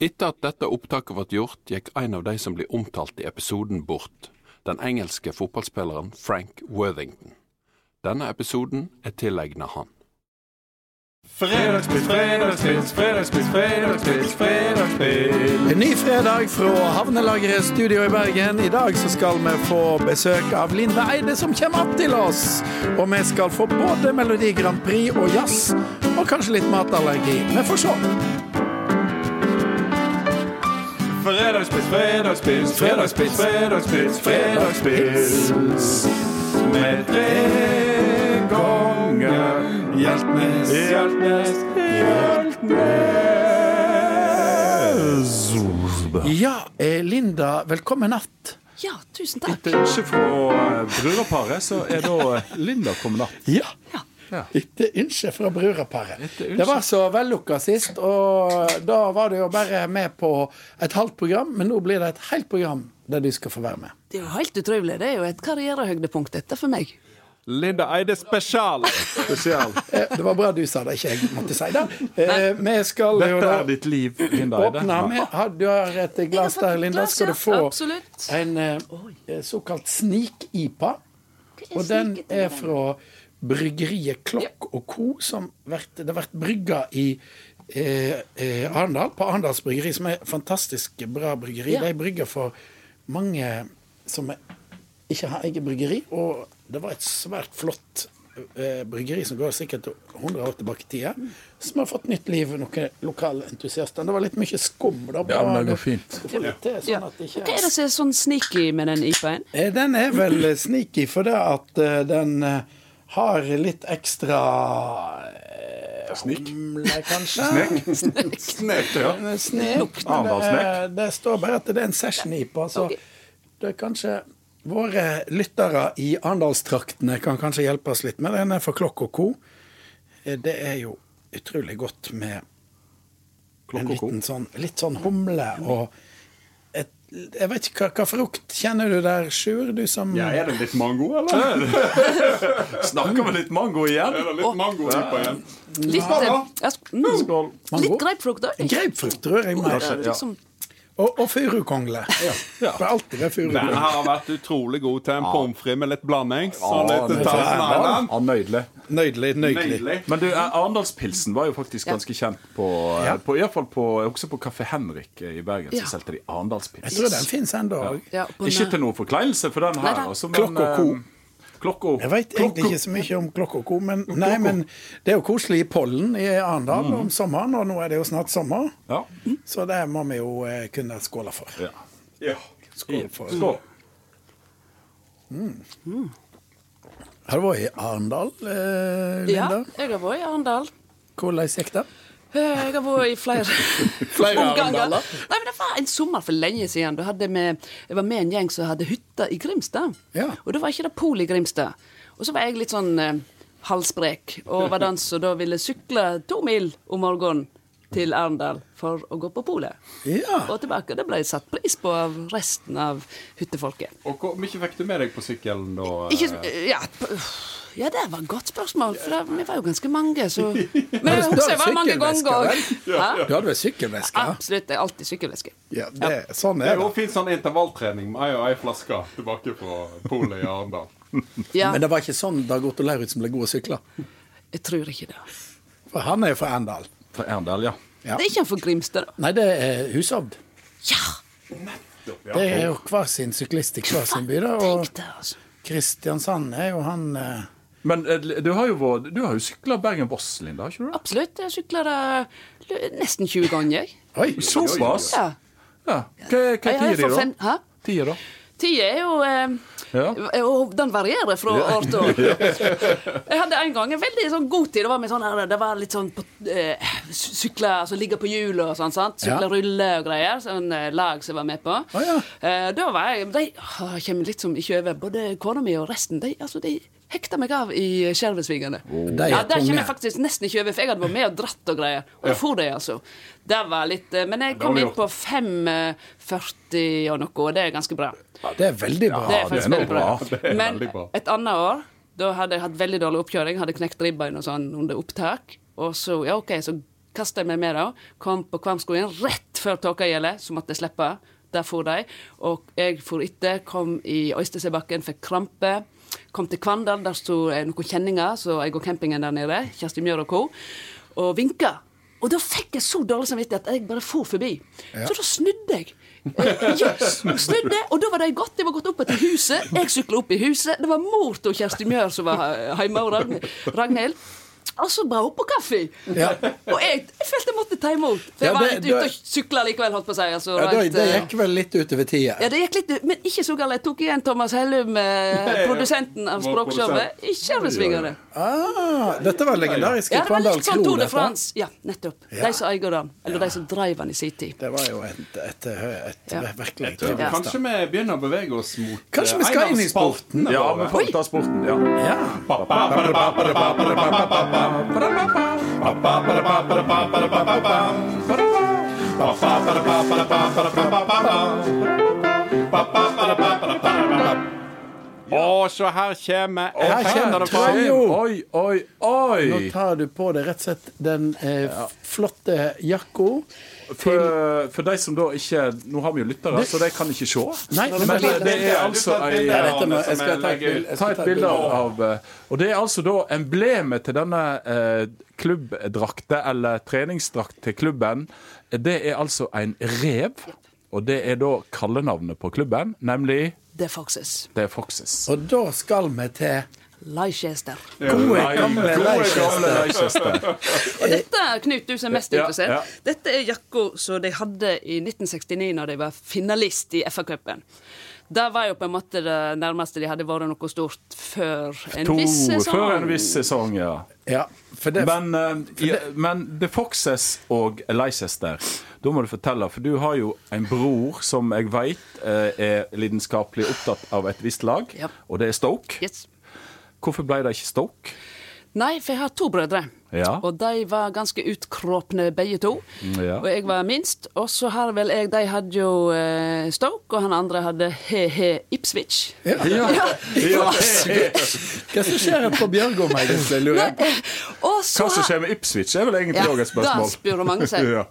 Etter at dette opptaket ble gjort, gikk en av de som blir omtalt i episoden, bort. Den engelske fotballspilleren Frank Worthington. Denne episoden er tilegnet han. Fredagspils, fredagspils, fredagspils, fredagspils, fredagspils. En ny fredag fra Havnelageret studio i Bergen. I dag så skal vi få besøk av Linda Eide som kommer att til oss. Og vi skal få både Melodi Grand Prix og jazz, og kanskje litt matallergi. Vi får se. Fredagspils, fredagspils, fredagspils, fredagspils, fredagspils. Med tre ganger Hjeltnes, Hjeltnes, Hjeltnes. Ja, eh, Linda, velkommen att. Ja, tusen takk. Etter ønske fra brødreparet så er da Linda kommet opp. Ja. Ja. Etter ønske fra bruderparet. ønske. Det var så vellukka sist, og da var det jo bare med på et halvt program, men nå blir det et helt program der du skal få være med. Det er jo helt utrolig. Det er jo et karrierehøydepunkt, dette, for meg. Linda Eide spesial. Spesial. Eh, Det var bra du sa det, ikke jeg måtte si det. Eh, Vi skal jo Dette da er ditt liv, Linda Eide. åpne med ha- Du har et glass Jeg har fått der, et Linda. glass, Skal ja. du få Absolutt. en eh, såkalt snik-IPA. Og den er fra bryggeriet Klokk og Co., som vert, det har vært brygga i eh, eh, Arendal, på Arendals Bryggeri, som er et fantastisk bra bryggeri. Ja. De brygger for mange som er ikke har eget bryggeri. Og det var et svært flott eh, bryggeri som går sikkert 100 år tilbake i tida, Mm. som har fått nytt liv, noen lokale entusiaster. Det var litt mye skum. Da, Ja, men det går fint. Skal få litt til, Ja. sånn at det Hva ikke er det som er sånn sneaky med den IPA-en? Eh, Den er vel sneaky for det at eh, den eh, har litt ekstra eh, humle, kanskje. Snek, ja. Eh, Snek. men Det, Arendalssnek. er- det står bare at det er en session i på, så Ok. det er kanskje Våre lyttere i Arendalstraktene kan kanskje hjelpe oss litt med den er for Klokk og Co. Eh, Det er jo utrolig godt med en Klokk og ko. liten sånn, litt sånn humle og et, Jeg vet ikke hva, hva frukt kjenner du der, Sjur? Du som Ja, er det litt mango, eller? Snakker vi litt mango igjen? Er det sånn litt mango igjen? Litt, eh, ja, sk- mm, Skål. litt grapefrukt òg. Grapefrukt, tror jeg. Mer. Kanskje. Liksom, Og, og furukongle. Ja. Det har alltid vært Den furukongle. her har vært utrolig god til en pommes frites med litt blanding. Ja, Sånn litt Ah, det er Thousand bra. Island. Ja, nydelig. Nøydelig, nøydelig. Nydelig. Men du, eh, Arendalspilsen var jo faktisk ganske kjent på, eh, Ja. på Iallfall på, også på Kafé Henrik eh, i Bergen, Ja. så solgte de Jeg Arendalspils. tror den fins ennå òg. ja, på Ikke den- til noen forkleinelse for den Nei, her, nei. altså. Klokk og ko. Klokk og Jeg veit egentlig ikke så mye om Mhm. klokk og ko, men, nei, men det er jo koselig i pollen i Arendal om sommeren, og nå er det jo snart sommer, Ja. så det må vi jo eh, kunne skåle for. ja. Ja. Skål for. Skål. Har du vært i Arendal, eh, Ja, Linda? jeg har vært i Arendal. Hvordan gikk det? Eh, Jeg har vært i flere Flere omganger. Arendaler? Nei, men Det var en sommer for lenge siden. Da hadde vi- jeg var med en gjeng som hadde hytta i Grimstad. Ja. Og da var ikke det pol i Grimstad. Og så var jeg litt sånn eh, halvsprek og var den som da ville sykle to mil om morgenen til Arendal for å gå på polet. Ja. Og tilbake. Det ble satt pris på av resten av hyttefolket. Og hvor mye fikk du med deg på sykkelen da? eh? Ikke, ja, p- ja, det var et godt spørsmål, for det, vi var jo ganske mange. Så. Men jeg husker jeg var mange sykkelveske, ganger. vel? Hæ? Du hadde vel sykkelveske? Absolutt. Det er alltid sykkelveske. Ja, det, sånn Det er er det. jo fin sånn intervalltrening med ei og ei flaske tilbake fra polet i Arendal. Ja, Men det var ikke sånn Dag Otto Lauritzen ble god å sykle. jeg tror ikke det. For han er jo fra Arendal. Fra Arendal, ja. Ja. Det er ikke han for Grimstad, da. Nei, det er Hushovd. Ja! Det er jo hver sin syklist i hver sin by, da. Og Tenk det, altså. Kristiansand er jo han eh, Men eh, du har jo, vært- du har jo sykla Bergen-Voss, Linda, har ikke du det? Absolutt. Jeg sykler eh, nesten 20 ganger, jeg. Oi! Såpass? Ja. Ja. Hva hva Jeg har er tida fått da? fem- Hæ? Tida, da? Tida er jo eh, Ja. Og den varierer fra år til år. Jeg hadde en gang en veldig sånn god tid. Det var, med sånn, her- det var litt sånn på, eh, sy- sykle altså, ligge på hjul og sånn. sant? Sykle Ja. rulle og greier. Sånn eh, lag som jeg var med på. Å, ja. eh, da var jeg De åh, jeg kommer liksom ikke over. Både kona mi og resten. De, altså, de hekta meg av i Skjervesvingene. De er Ja, der tunge. kommer jeg faktisk nesten ikke over, for jeg hadde vært med og dratt og greier. Og da for de, altså. Det var litt eh, Men jeg kom var inn på 5,40 og noe, og det er ganske bra. Det er veldig bra. Det Ja, er faktisk det er nå veldig bra. bra. Det er Men veldig bra. et annet år, da hadde jeg hatt veldig dårlig oppkjøring, hadde knekt ribbein og sånn under opptak, og så ja, OK, så kasta jeg meg med, da. Kom på Kvamskogen rett før tåka gjelder, så måtte jeg slippe. Der for de. Og jeg for etter, kom i Øystesebakken, fikk krampe. Kom til Kvandal, der sto eh, noen kjenninger, så jeg og campingen der nede, Kjersti Mjør og co., og vinka. Og da fikk jeg så dårlig samvittighet at jeg bare for forbi. Så da snudde jeg. Eh, Yes, snudde, og da var de gått. De var gått opp etter huset. Jeg sykla opp i huset. Det var mor til Kjersti Mjør som var eh, hjemme, og Ragn- Ragnhild. Og så bra opp på kaffe! Ja. Og jeg, jeg følte jeg måtte ta imot. For jeg Ja, var det- litt ute det- og sykla likevel, holdt på å si. Altså, Ja, det, rent, det eh, gikk vel litt utover tida. ja, det gikk litt, men ikke så galt. Jeg tok igjen Thomas Hellum, eh, produsenten av Vår språkshowet. Ikke over svingene. Ah, dette var legendarisk i Ja, det var Kvandal litt sånn Kro. Tour de dette. France. Ja, nettopp. De som eier den. Eller de som dreiv den i sin tid. Det var jo et, et, et, Ja. virkelig Jeg tror Ja. Kanskje vi begynner å bevege oss mot Kanskje vi skal inn i sporten? Ja, vi får ta sporten. ja. Ja. Å, så her kommer Her kommer Trajo. Oi, oi, Nå oi! tar du på deg rett og slett den eh, f- flotte jakka. For, eh, for de som da ikke Nå har vi jo lyttere, så de kan ikke se. Nei, men- men eh, det, det er altså ei Ja, dette må- jeg skal ta et bil- jeg Ta skal et bilde av eh, Og det er altså da emblemet til denne eh, klubbdrakta, eller treningsdrakt til klubben, det er altså en rev. Og det er da kallenavnet på klubben, nemlig The Foxes. The Foxes. Og da skal vi til Leicester. gode, gamle Leicester. Og dette, Knut, du som er mest Ja, interessert, ja. dette er jakka som de hadde i 1969 når de var finalist i FA-cupen. Det var jo på en måte det nærmeste de hadde vært noe stort før en To viss sesong. før en viss sesong, ja. Ja, for det, Men, eh, ja, men The Foxes og Leicester, da må du fortelle, for du har jo en bror som jeg veit er lidenskapelig opptatt av et visst lag, Ja. og det er Stoke. Yes. Hvorfor ble det ikke Stoke? Nei, for jeg har to brødre. Ja. Og de var ganske utkråpne begge to. Ja. Og jeg var minst. Og så har vel jeg De hadde jo eh, Stoke, og han andre hadde he-he Ipswich. Ja. hva som skjer her på Bjørgom, egentlig, lurer jeg på? Og så Hva som har- skjer med Ipswich, er vel egentlig Ja, òg et spørsmål. da spør mange seg. Ja.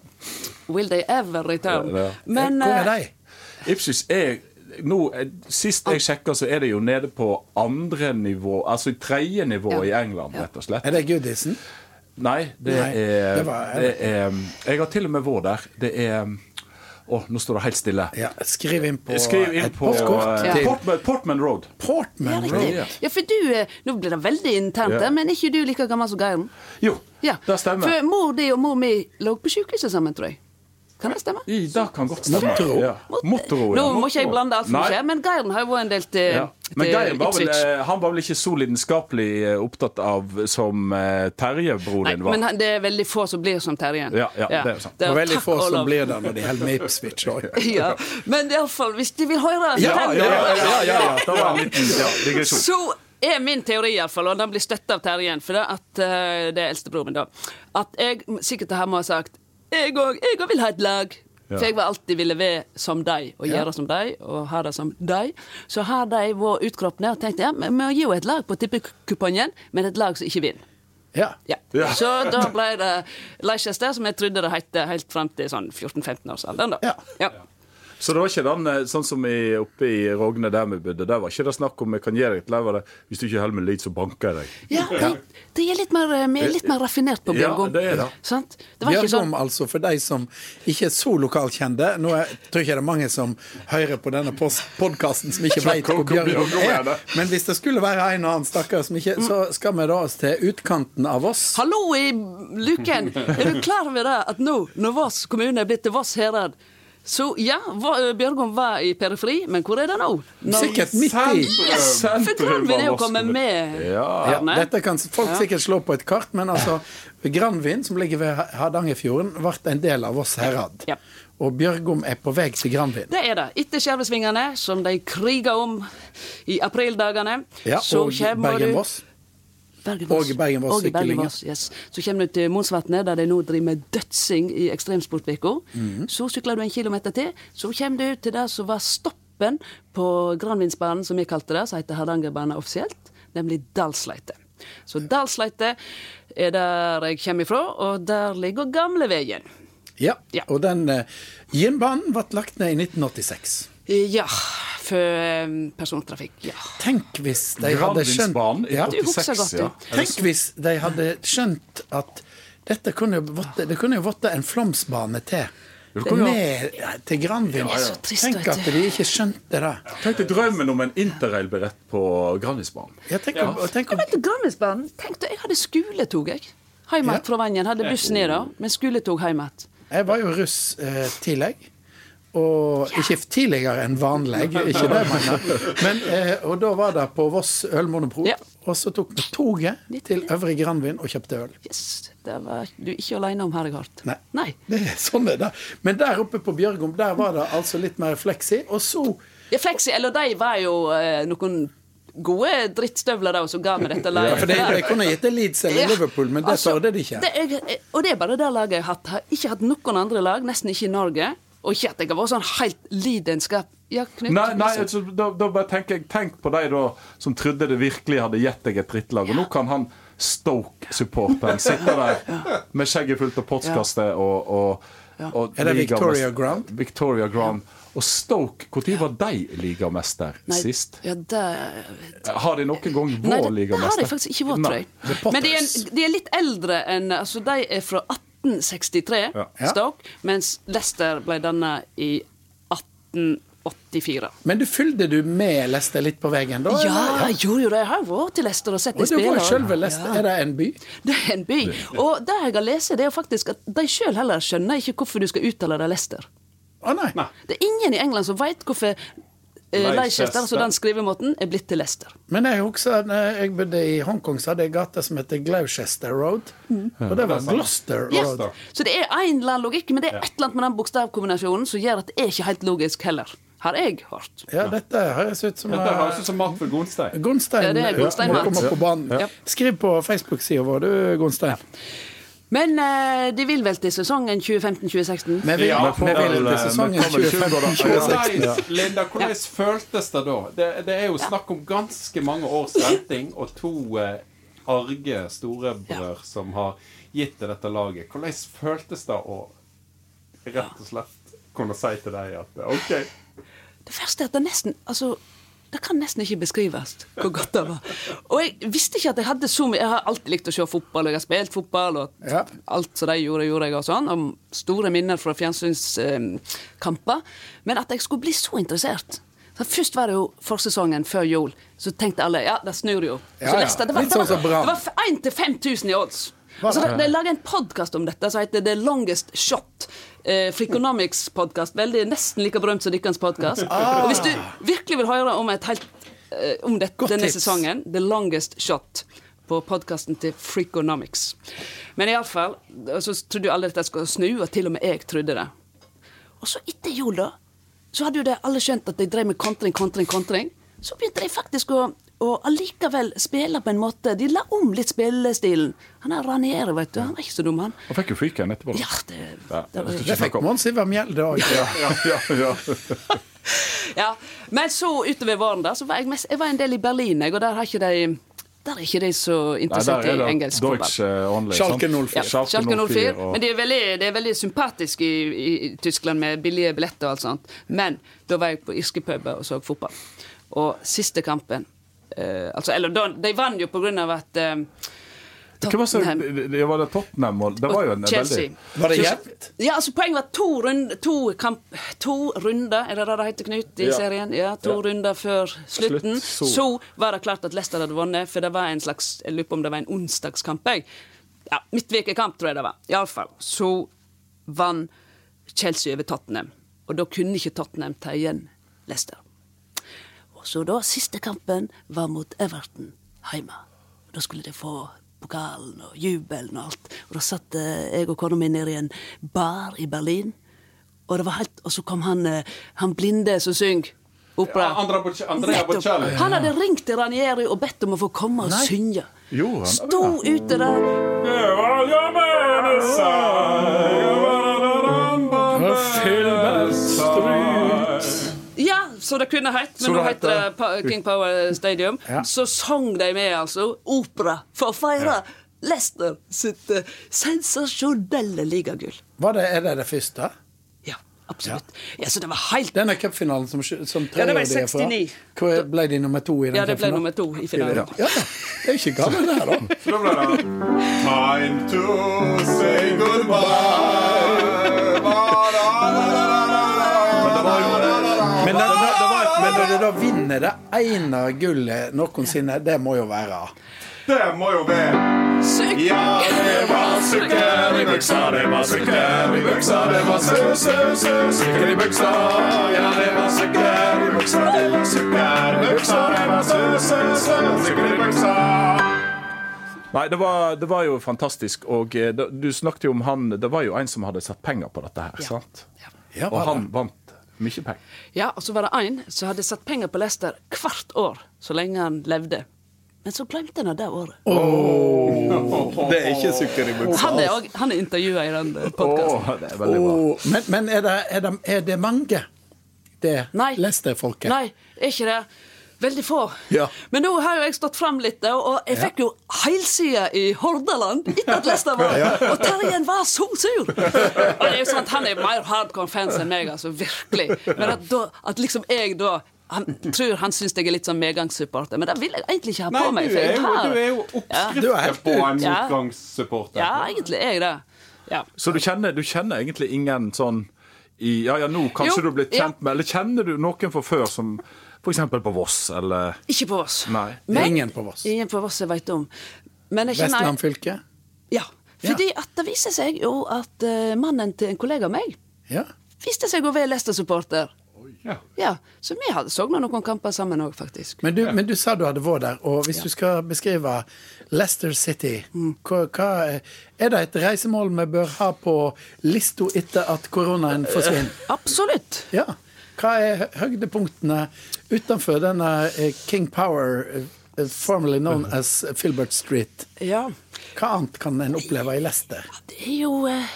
Will they ever return? Ja, ja. Men Hvor er eh, de? Ipswich er nå, eh, Sist jeg sjekka, så er det jo nede på andre nivå, altså i tredje nivå i Ja. England, rett og slett. Er det Gudisen? Nei, det Nei, er, det var- det er Jeg har til og med vært der. Det er Å, nå står det helt stille. Ja, skriv inn på Skriv inn et på postkort eh, til Portman, Portman Road. ja, Portman Road. riktig. Ja, for du eh, Nå blir det veldig internt, Ja. der, men er ikke du like gammel som Geiren? Jo, Ja. det stemmer. For mor di og mor mi lå på sykehuset sammen, tror jeg. Kan det stemme? I, det kan godt stemme. Motoro. Ja. Motoro, ja. Nå må ikke jeg blande alt som Nei. skjer, men Geiren har jo vært en del til, Ja. Men til Geir var vel, Ipswich. eh, han var vel ikke så lidenskapelig eh, opptatt av som eh, Terje, broren Nei, din, var? men han- det er veldig få som blir som Terje. Ja, ja, det er sant. Og er- veldig takk, få som Olav. blir der når de holder med Ipswich òg. ja. Men iallfall, hvis de vil høre Ja, den, ja, ja, ja, ja, ja. Det var en liten ja, digresjon. så er min teori, iallfall, og den blir støtta av Terjen, for det, at, eh, det er eldstebroren min, da, at jeg sikkert det her må ha sagt Jeg òg jeg òg vil ha et lag. For jeg var alltid ville være som de, og gjøre som de, og ha det som de. Så har de vært utkroppene og tenkt ja, vi må gi jo et lag på tippekupongen, men et lag som ikke vinner. Ja. Ja. Ja. Så da ble det Leicester, som jeg trodde det het helt fram til sånn 14-15 års alder. Da. Ja. Så det var ikke den, eh, sånn som i, oppe i Rogne der vi bodde, der var ikke det snakk om vi kan gi deg et lever, hvis du ikke holder med lyd, så banker jeg deg. Ja, de, de er litt mer, vi er litt mer raffinert på Ja, Bjørgom. det er det. Sant? Det var ikke Bjørgom, sånn altså, for de som ikke er så lokalkjente Nå er, tror jeg ikke det er mange som hører på denne podkasten som ikke vet hvor Bjørgom er er. Men hvis det skulle være en og annen stakkar som ikke Så skal vi da oss til utkanten av Voss. Hallo i luken! Er du klar over det at nå, når Voss kommune er blitt til Voss herad Så ja, Va- Bjørgom var i periferi, men hvor er det nå? Når- Sikkert midt i. For Granvin er jo kommet med. Ja. Ja, Arne. dette kan folk sikkert slå på et kart, men altså Granvin, som ligger ved Hardangerfjorden, ble en del av Voss herad. Ja. Og Bjørgom er på vei til Granvin. Det er det. Etter Skjervesvingene, som de kriga om i aprildagene, Ja, så og kommer du Bergen-Voss. Bergen-Voss. Og Bergen-Voss Og i Bergen-Voss, yes. Så kommer du til Monsvatnet, der de nå driver med dødsing i ekstremsportveka. Mhm. Så sykler du en kilometer til. Så kommer du til det som var stoppen på Granvinsbanen, som vi kalte det, som heter Hardangerbanen offisielt, nemlig Dalsleite. Så Dalsleite er der jeg kommer ifra, og der ligger gamleveien. Ja. Ja. Og den eh, ginbanen ble lagt ned i 1986. Ja, for eh, persontrafikk. Ja. Tenk hvis de hadde Granvinsbanen skjønt i ja. Du husker 86, godt, ja. ja. Tenk hvis de hadde skjønt at dette kunne jo vært, det kunne jo vært en flomsbane til. kunne jo- Ned til Granvin. Det er så trist, Tenk vet at du. de ikke skjønte det. Tenk deg drømmen om en interrailbillett på Granvinsbanen. Ja, tenk, om- tenk Jeg om, vet du, Granvinsbanen. Tenk deg, jeg hadde skoletog, jeg. Hjem igjen fra Vangen. Hadde buss ned da, men skoletog hjem igjen. jeg var jo russ eh, tidlig. Og ikke tidligere enn vanlig, ikke det, mener jeg. Men, eh, og da var det på Voss ølmonopol. Ja. Og så tok vi toget til Øvre Granvin og kjøpte øl. Yes, det var du ikke alene om, herre Gart. Nei. Nei. Det er sånn det er. det. Men der oppe på Bjørgom, der var det altså litt mer fleksi. Og så Ja, Flexi, eller de var jo eh, noen gode drittstøvler da, som ga meg dette laget. For de, de kunne gitt det Leeds eller Ja. Liverpool, men det Altså, torde de ikke. det er- og det er bare det laget jeg har hatt. Har ikke hatt noen andre lag, nesten ikke i Norge. Og ikke at jeg har vært sånn helt lidenskap. Ja, Knut, Nei, nei liksom. altså, da, da bare tenker jeg Tenk på de da som trodde det virkelig hadde gitt deg et drittlag. Og nå kan han Stoke-supporteren sitte der med skjegget fullt av postkaster og, og, og Er det ligamest- Victoria Grant? Victoria Grant. Og Stoke, når var de ligamester Nei, sist? Ja, det Har de noen gang Nei, vært det, det har ligamester? de faktisk ikke vært, tror jeg. The Potters. Men de er, de er litt eldre enn Altså, de er fra 1863, Ja. Stoke, mens Leicester ble danna i 1884. Men du fulgte du med Lester litt på veien da? Ja, eller? jeg gjorde jo det. Jeg har jo vært til Leicester og sett Og de det var spiller. jo selve Lester. Er det en by? Det er en by. Og det jeg har lest, det er jo faktisk at de sjøl heller skjønner ikke hvorfor du skal uttale det Leicester. Å nei. Det er ingen i England som veit hvorfor eh, Leicester, altså den skrivemåten, er blitt til Leicester. Men jeg husker da jeg bodde i Hongkong, så hadde jeg gata som heter Gloucester Road. Mm. Og det var Gloucester Ja. Road. Så det er en eller annen logikk, men det er et eller annet med den bokstavkombinasjonen som gjør at det er ikke helt logisk heller. Har jeg hørt. Ja, dette høres ut som eh, Dette høres ut som mat for Gonstein. Gonstein Ja, det er Gonstein, må ja. komme på banen. Ja. Skriv på Facebook-sida vår, du, Gonstein. Men eh, de vil vel til sesongen 2015-2016? Vi vil, eh, Ja, vi vil til sesongen 2015-2016. Hvordan, Linda, hvordan føltes det da? Det, det er jo snakk om ganske mange års venting og to eh, arge storebrør som har gitt til dette laget. Hvordan føltes det å rett og slett kunne si til deg at OK, Det verste er at det nesten Altså, det kan nesten ikke beskrives hvor godt det var. Og jeg visste ikke at jeg hadde så mye Jeg har alltid likt å se fotball, og jeg har spilt fotball, og Ja. alt som de gjorde, gjorde jeg og sånn. Om store minner fra fjernsynskamper. Men at jeg skulle bli så interessert så Først var det jo forsesongen før jul. Så tenkte alle ja, det snur jo. Ja, så ja. neste, det var, Litt sånn det som var, Brann. det var 1 til 5000 i odds. Hva Så da? de, de lager en podkast om dette som heter The Longest Shot. Eh, Freakonomics-podkast. Veldig Nesten like berømt som deres podkast. Ah. Og hvis du virkelig vil høre om, et helt, eh, om det, Godt denne tips. sesongen, The Longest Shot på podkasten til Freakonomics. Men iallfall så trodde jo alle dette skulle snu, og til og med jeg trodde det. Og så etter jul, da, så hadde jo det alle skjønt at de drev med kontring, kontring, kontring. Så begynte de faktisk å, å allikevel spille på en måte. De la om litt spillestilen. Han er Ranieri, vet du. Han er ikke så dum, han. Han fikk jo freaken etterpå. Ja, det, Ja, det var, jeg skal Det fikk ikke snakke om. Mons Ivar Mjelde òg. Ja, ja, ja. ja. Men så utover våren, da, så var jeg, mest, jeg var en del i Berlin, jeg, og der har ikke de der er ikke de så Nei, der interessert er i det engelsk fotball. Deutsche Only. Schalke sant? 04. Ja, Schalke 04. og- Men det er veldig, det er veldig sympatisk i, i i Tyskland med billige billetter og alt sånt. Men da var jeg på irske puber og så fotball. Og siste kampen eh, altså, Eller da, de vant jo på grunn av at eh, Hva var så- Tottenham det- det var det Tottenham og Det var jo en og Chelsea veldig Var det jevnt? ja, altså Poenget var to, rund, to, kamp, to runder, er det det det heter, Knut, i Ja. serien? Ja, To runder før slutten. Slutt, så- så. var det klart at Leicester hadde vunnet, for det var en slags Jeg lurer på om det var en onsdagskamp. Jeg. Ja, Midtvekekamp, tror jeg det var. Iallfall. Så vant Chelsea over Tottenham, og da kunne ikke Tottenham ta igjen Leicester. Og så da, siste kampen var mot Everton hjemme. Og Da skulle de få pokalen og jubelen og alt. Og da satt eh, jeg og kona mi nede i en bar i Berlin, og det var helt Og så kom han, eh, han blinde som synger opera. Ja, Andrea Bocelli- Andrea Nettopp. Bocelli. Han hadde ringt til Ranieri og bedt om å få komme og synge. Gjorde han? Sto ute der. Ja, så det kunne hett, men nå heter det Pa- King Power Stadium. Så sang de med, altså. Opera for å feire Leicester sitt eh, sensasjonelle ligagull. Var det, er det det første? Ja, absolutt. Ja, Så det var helt Denne cupfinalen som, som Ja, det var i Trøya de er fra, 69. hvor ble de nummer to i den Ja, det ble cupfinalen? nummer to i finalen. Ja, det er jo ikke gammel det her, da. Så da ble det Time to say goodbye. Men det var jo Men når, når, det var, men når du da vinner det ene gullet noensinne, det må jo være Det må jo være Sykt! Ja, det var sukker i buksa, det var sukker i buksa, det var sø, sø, sø, sukker i buksa. Ja, det var sukker i buksa, det var sukker i buksa, det var sø, sø, sø, sukker i buksa. Nei, det var, det var jo fantastisk. Og eh, da- du snakket jo om han Det var jo en som hadde satt penger på dette her, sant? ja, Og var han vant mye penger. Ja, og så var det en som hadde satt penger på Leicester hvert år så lenge han levde. Men så glemte han det det året. Det er ikke sukker i buksa. Han er, også- han er intervjua i den podkasten. Åh, det er det. veldig bra. Og- men men er, det, er, det, er det mange, det Nei. Leicester-folket? Nei, er ikke det? Veldig få. Ja. Men nå har jo jeg stått fram litt, og og jeg fikk jo heilsida i Hordaland etter at Leicester var Og Terjen var så sur! Og det er jo sant, Han er mer hardcore fans enn meg, altså. Virkelig. Men at, da, at liksom jeg da han tror han syns jeg er litt sånn medgangssupporter, men det vil jeg egentlig ikke ha Nei, på meg. du for er jeg jo, har- du er jo Du er oppskriften helt på en Ja. motgangssupporter. Ja, egentlig er jeg det. Ja. Så du kjenner, du kjenner egentlig ingen sånn i, Ja, ja, nå kanskje Jo, du er blitt ja. kjent med Eller kjenner du noen fra før som f.eks. på Voss, eller Ikke på Voss. Nei. Det er ingen på Voss. Ingen på Voss jeg veit om. Men jeg kjenner Vestland fylke? Ja. Fordi at det viser seg jo at eh, mannen til en kollega av meg Ja. viste seg å være Leicester-supporter. Ja, Så vi hadde så nå noen kamper sammen òg, faktisk. Men du, men du sa du hadde vært der, og hvis du skal beskrive Leicester City hva, hva, Er det et reisemål vi bør ha på lista etter at koronaen forsvinner? Absolutt. Ja. Hva er hø- høydepunktene utenfor denne eh, King Power, eh, formerly known as Filbert Street? Ja. Hva annet kan en oppleve i Leicester? Det er jo eh,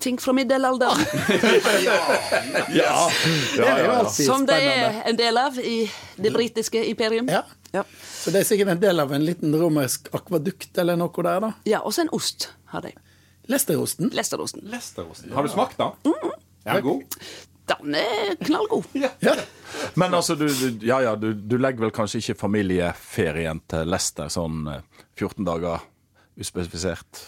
ting fra middelalderen. Det er jo alltid Som det spennende. er en del av i det britiske imperium. Ja. Ja, Så det er sikkert en del av en liten romersk akvadukt eller noe der, da. ja og så en ost har de. Leicesterosten. Leicesterosten. Lesterosten. Har du smakt den? Mm-hmm. Er den god? Den er knallgod. Ja. Men altså, du, du, ja, ja, du, du legger vel kanskje ikke familieferien til Lester sånn eh, 14 dager uspesifisert?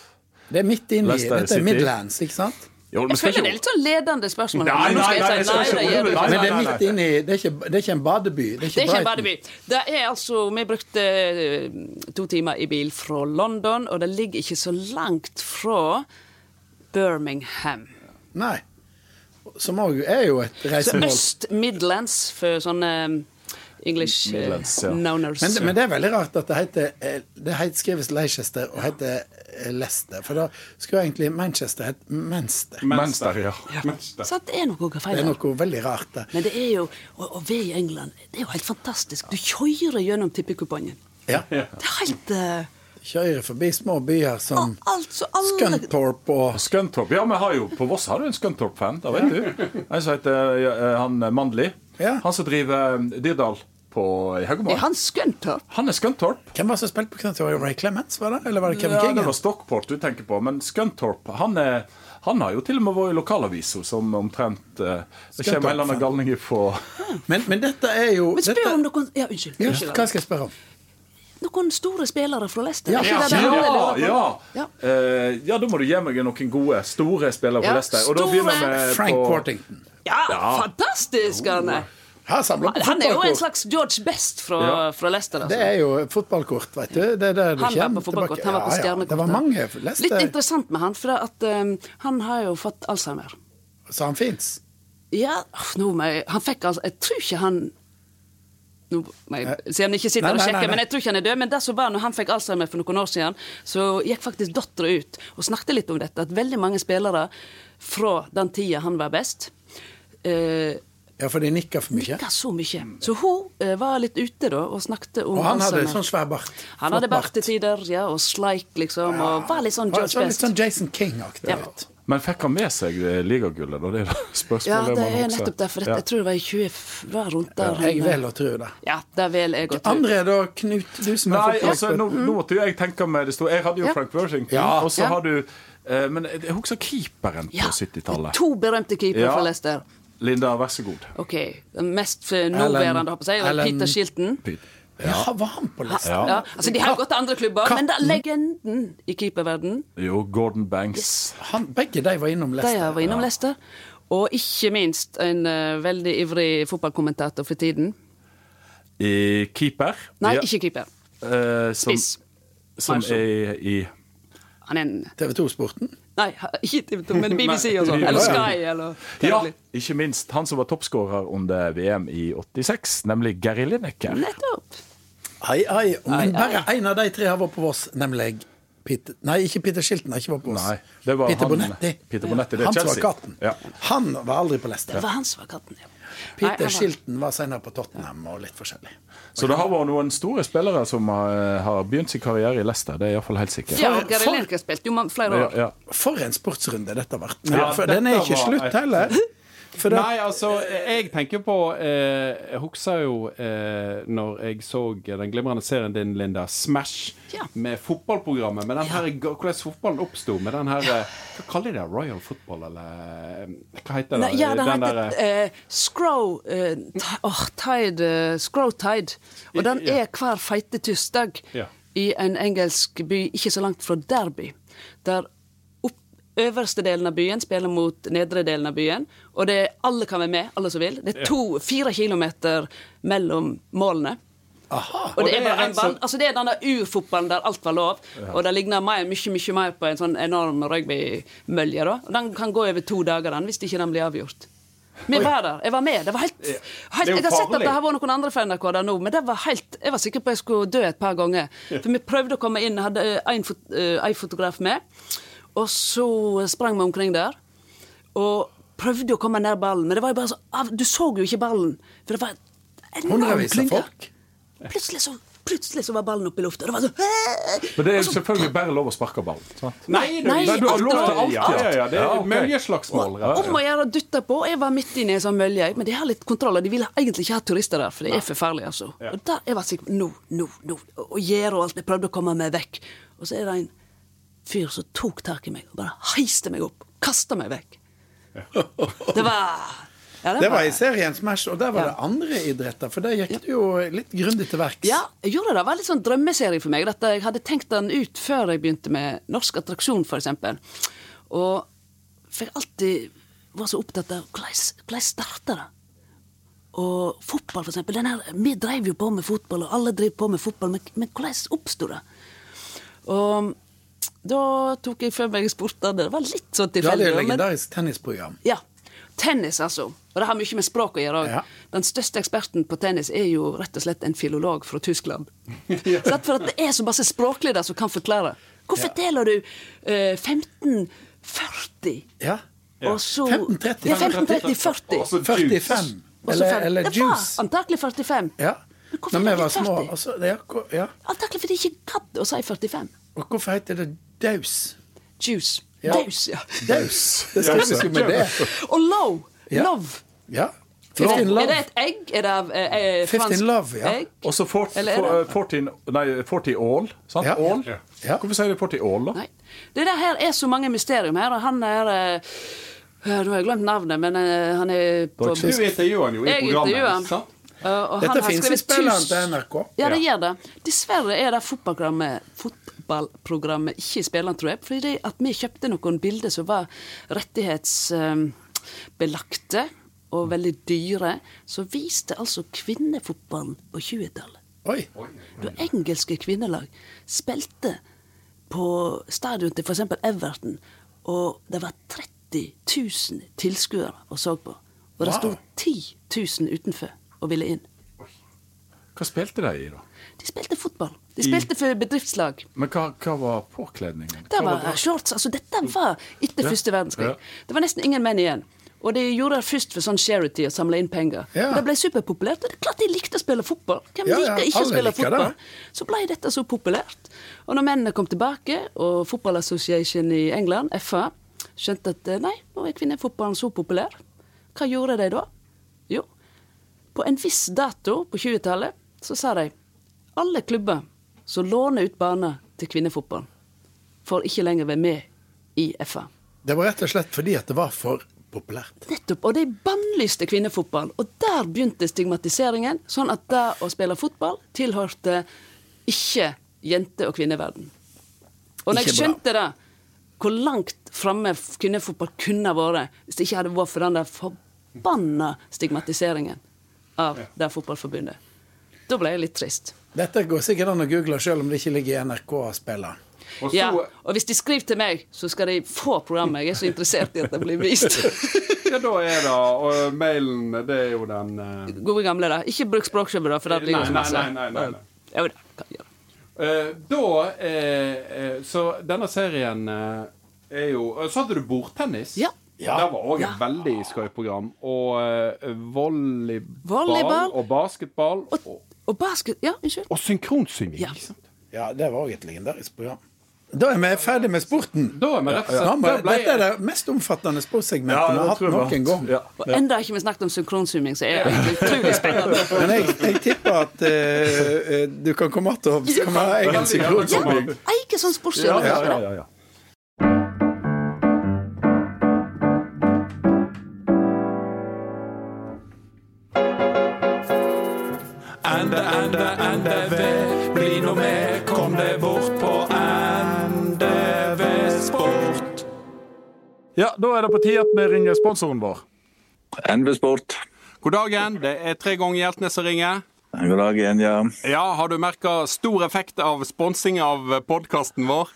Det er midt inni. Leicester Dette City. er Midlands, ikke sant? Jo, men Jeg skal føler ikke- det er litt sånn ledende spørsmål. her, Nei, men nå skal nei, nei, jeg jeg si skal ikke nei, det gjør overrule- du ikke. Nei, Men det er nei, midt inni Det er ikke, det er ikke en badeby. Det er Det ikke, er ikke Brighton. en badeby. Det er altså, Vi brukte eh, to timer i bil fra London, og det ligger ikke så langt fra Birmingham. Nei. Som òg er jo et Så reisemål. Øst Midlands for sånne eh, English eh, Midlands, ja. knowners. Men, men det er veldig rart at det heter eh, Det het, skrives Leicester og heter eh, Leicester. For da skulle egentlig Manchester hett Menster. Manchester, ja. Manchester. Så det er noe feil. Det er her. noe veldig rart der. Men det er jo Å, å være i England det er jo helt fantastisk. Du kjører gjennom tippekupongen. Ja. Det er helt eh, Kjører forbi små byer som Altså, alle Scunthorpe og Scunthorpe. Ja, vi har jo, på Voss har du en Scunthorpe-fan. Det vet du. En som heter ja, eh, han eh, Mandli. Ja. Han som driver eh, Dirdal på i Haugemark. Er han skønter? Han er Scunthorpe. Hvem var det som spilte på Scunthorpe? Var det Ray Clements, var det? Eller var det Kevin Ja, det Keegan? var Stockport du tenker på, men Scunthorpe han, er, han har jo til og med vært i lokalavisa som omtrent eh, Det kommer en eller annen galning ifra Men, men dette er jo sånn. Men spør dette, om noen Ja, unnskyld. ja, unnskyld Hva skal jeg spørre om? Noen store spillere fra Leicester? Ja. Er ikke det det Ja, alle lurer på? ja. Ja. Eh, ja, da må du gi meg noen gode, store spillere Ja, på Leicester. Og da store. begynner vi Frank Eh, på Portington. Ja, fantastisk! Han er. Her samler på han er jo en fotballkort. slags George Best fra, Ja. fra Leicester. Det Altså. er jo fotballkort, vet du. Det er det du Han var på kommer fotballkort, tilbake han var på Ja, ja. stjernekort. Det var mange Litt Leicester, interessant med han, for at, um, han har jo fått Alzheimer. så han fins. Ja, åh, nå må jeg, han fikk altså, Jeg tror ikke han nå må jeg, Se om jeg ikke sitter Eh, Nei, nei, nei, og sjekker, nei. men jeg tror ikke han er død. Men det som var når han fikk Alzheimer for noen år siden, så gikk faktisk dattera ut og snakket litt om dette. At veldig mange spillere fra den tida han var best eh, Ja, for de nikker for mye. Nikka så mye. Så hun eh, var litt ute da og snakket om Og han hadde Alzheimer. sånn svær bart. Han hadde bart til tider, ja, og sleik, liksom, og var litt sånn Han George så litt Best. sånn Jason King-aktig Ja. ut. Men fikk han med seg eh, ligagullet, da? Det er det spørsmålet Ja, det man er husker. nettopp derfor. Ja. Jeg tror det var i 20 f- var rundt der. Jeg vil å tro det. Ja, det vil jeg òg tro. Andre da, Knut, du som er Nei, altså, fotballekspert. nå, nå måtte jo jeg tenke meg det store. Jeg hadde jo Ja. Frank Worthington, Ja. og så Ja. har du eh, Men jeg husker keeperen på 70-tallet. To berømte keepere Ja. fra Leicester. Linda, vær så god. OK. Den mest eh, nåværende, holdt på å si, var Ellen- Peter Shilton. Ja, var han på lista? Ja. Altså, de har gått til andre klubber, men det er legenden i keeperverden Jo, Gordon Banks. Han, begge de var innom De Leicester. har vært innom Leicester. Og ikke minst en eh, veldig ivrig fotballkommentator for tiden. I keeper. Nei, Ja, ikke keeper. eh, som, Spiss. Som er i Han er en TV 2-sporten. Nei, ikke TV 2, men BBC og sånn. Nei. Eller Sky, eller Ja, ikke minst han som var toppskårer under VM i 86, nemlig Gary Lineker. Nettopp. Ai, ai. Men bare en av de tre har vært på Voss, nemlig Peter Nei, ikke Peter Shilton har ikke vært på Voss. Nei, det var Peter han- Bonetti. Peter Bonetti, det er han som var Chelsea. katten. Ja. Han var aldri på Leicester. Det var han som var katten, ja. Nei, han Peter var- Shilton var senere på Tottenham og litt forskjellig. Så det har vært noen store spillere som har, eh, har begynt sin karriere i Leicester. Det er iallfall helt sikkert. Ja, For- Gary for- Lineker spilte jo man- flere Ja, år. ja. For en sportsrunde dette har vært. Ja, for den er dette ikke var slutt et- heller. For det, Nei, altså, jeg tenker på eh, Jeg husker jo eh, når jeg så den glimrende serien din, Linda, Smash, Ja. med fotballprogrammet. Med den her, hvordan fotballen oppsto med den her eh, Hva kaller de det? Royal football, eller eh, Hva heter det? Nei, ja, den der, heter eh, eh, Scrow eh, ti- åh, Tide eh, Scrow Tide. Og den Ja. er hver feite tirsdag Ja. i en engelsk by ikke så langt fra Derby. Der opp, øverste delen av byen spiller mot nedre delen av byen. Og det er, alle kan være med, alle som vil. Det er to, fire kilometer mellom målene. Og det Og er det bare er en rett som- ball. Altså, det er denne urfotballen der alt var lov, og det ligner mer, mye, mye mer på en sånn enorm rugbymølje. da. Og Den kan gå over to dager, den, hvis ikke den blir avgjort. Vi var der. Jeg var med. Det var helt, helt Det er jo Jeg har sett at farlig. det har vært noen andre fra NRK der nå, men det var helt Jeg var sikker på at jeg skulle dø et par ganger. For vi prøvde å komme inn, hadde eh, en, fot, eh, en fotograf med, og så sprang vi omkring der. Og prøvde å komme nær ballen, men det var jo bare så av- Du så jo ikke ballen, for det var en enorm Hundrevis av klynge. folk. Plutselig så, plutselig så var ballen oppe i lufta. Det var sånn «Hæ?» Men det er jo selvfølgelig bare lov å sparke ballen. Sant? Nei, du, Nei, du har alt lov lov. til alt, ja, ja, ja, det er ok. møljeslagsmål. rett og slett. Om å gjøre å dytte på. Jeg var midt inne i en sånn mølje, men de har litt kontroll. Og de vil egentlig ikke ha turister der, for det er for farlig, altså. Og der jeg var sikker Nå, nå, nå. Og gjerdet og alt. Jeg prøvde å komme meg vekk. Og så er det en fyr som tok tak i meg og bare heiste meg opp. Kasta meg vekk. Det var ja, det var i serien Smash, og der var Ja. det andre idretter. For der gikk du jo litt grundig til verks. Ja, jeg gjorde det. Det var litt sånn drømmeserie for meg. Dette, jeg hadde tenkt den ut før jeg begynte med Norsk attraksjon, f.eks. Og for jeg alltid var så opptatt av hvordan hvordan starta det? Og fotball, for eksempel. Den her, vi drev jo på med fotball, og alle drev på med fotball, men, men hvordan oppsto det? Og da tok jeg for meg sportene. Det var litt sånn Du hadde tilfeldig. jo men- legendarisk tennisprogram. ja. Tennis, altså. Og det har mye med språk å gjøre òg. Ja. Den største eksperten på tennis er jo rett og slett en filolog fra Tyskland. Så at for at det er så masse språklig der som kan forklare. Hvorfor deler du eh, 1540 Ja. og så 1530. Ja, 1530-40. Også 45. Eller, eller det var juice. antakelig 45. Ja. Men hvorfor Når vi er det var små. 40? Altså, ja, hvor- ja. Antakelig fordi jeg ikke gadd å si 45. Og hvorfor heter det daus? Juice. Ja. Daus, ja. Daus. Det skal vi skulle med det. Og low. Ja. Love. Ja. Er det, 15 er det love. et egg? Er det av eh, eh, 15 fransk love, ja. egg? Og så fort- Eller er det- for- eh, 40 Nei, 40 all. Sant? Ja. All. Ja. Hvorfor sier de 40 all, da? Nei. Det der her er så mange mysterium her, og han er eh, eh, Nå har jeg glemt navnet, men eh, han er på Du intervjuer han jo i Jeg programmet. intervjuer han. sant? Eh, og han Dette har finnes i skrevet spilleren tusen- til NRK. Ja, det gjør det. Dessverre er det fotballprogrammet, fotballprogrammet ikke i spilleren, tror jeg. Fordi det at vi kjøpte noen bilder som var rettighetsbelagte og veldig dyre, så viste altså kvinnefotballen på 20-tallet. Oi. Da engelske kvinnelag spilte på stadion til f.eks. Everton, og det var 30 000 tilskuere og så på. Og det Wow. stod 10 000 utenfor og ville inn. Hva spilte de i, da? De spilte fotball. De spilte for bedriftslag. Men hva, hva var påkledningen? Det Hva var shorts. Altså, dette var etter første verdenskrig. Ja. Det var nesten ingen menn igjen. Og de gjorde det først for sånn charity og samle inn penger. Ja. Og Det ble superpopulært. Og det er klart de likte å spille fotball. Hvem Ja, ja, liker ikke å alle spille liker fotball? det. Så ble dette så populært. Og når mennene kom tilbake, og Football Association i England, FA, skjønte at eh, nei, nå er kvinnefotballen så populær. Hva gjorde de da? Jo, på en viss dato på 20-tallet så sa de alle klubber som låner ut baner til kvinnefotball, får ikke lenger være med i FA. Det var rett og slett fordi at det var for populært. Nettopp. Og de bannlyste kvinnefotballen. Og der begynte stigmatiseringen, sånn at det å spille fotball tilhørte ikke jente- og kvinneverden. Og når jeg Ikke skjønte det, hvor langt framme f- kvinnefotball kunne ha vært hvis det ikke hadde vært for den der forbanna stigmatiseringen av det fotballforbundet. Da ble jeg litt trist. Dette går sikkert an å google selv om det ikke ligger i NRK-spilleren. Og så, Ja, og hvis de skriver til meg, så skal de få programmet. Jeg er så interessert i at det blir vist. ja, da er det Og mailen, det er jo den eh, Gode gamle, da. Ikke bruk språkkjøpet, da, for det blir jo nei, så nei, masse. nei, nei, nei, nei. Jo da, kan jeg gjøre. Eh, da eh, eh, Så denne serien eh, er jo eh, Så hadde du bordtennis. Ja. Det var òg et veldig skøyt program. Og eh, volleyball, Volleyball. og basketball. Og, Og, og basket Ja, unnskyld. Og synkronsynging. Ja. ikke sant? Ja, det var òg et legendarisk program. Da er vi ferdig med sporten. da er vi rett og Ja, slett men, da ble Dette er det mest omfattende sportssegmentet vi har hatt noen gang. Ja. Og enda har ikke vi snakket om synkronsumming, så er det egentlig utrolig spennende. Men jeg, jeg tipper at eh, eh, du kan komme att og så kan vi ha egen synkronsynging. Ei, ikke sånn sportsgjennom. Ja, ja, ja, ja. Ende, ende, NDV, bli nå med, kom deg bort på NDV Sport. ja, da er det på tide at vi ringer sponsoren vår. NB Sport. God dagen, det er tre ganger Hjeltnes som ringer. God dag igjen, ja. Ja, har du merka stor effekt av sponsing av podkasten vår?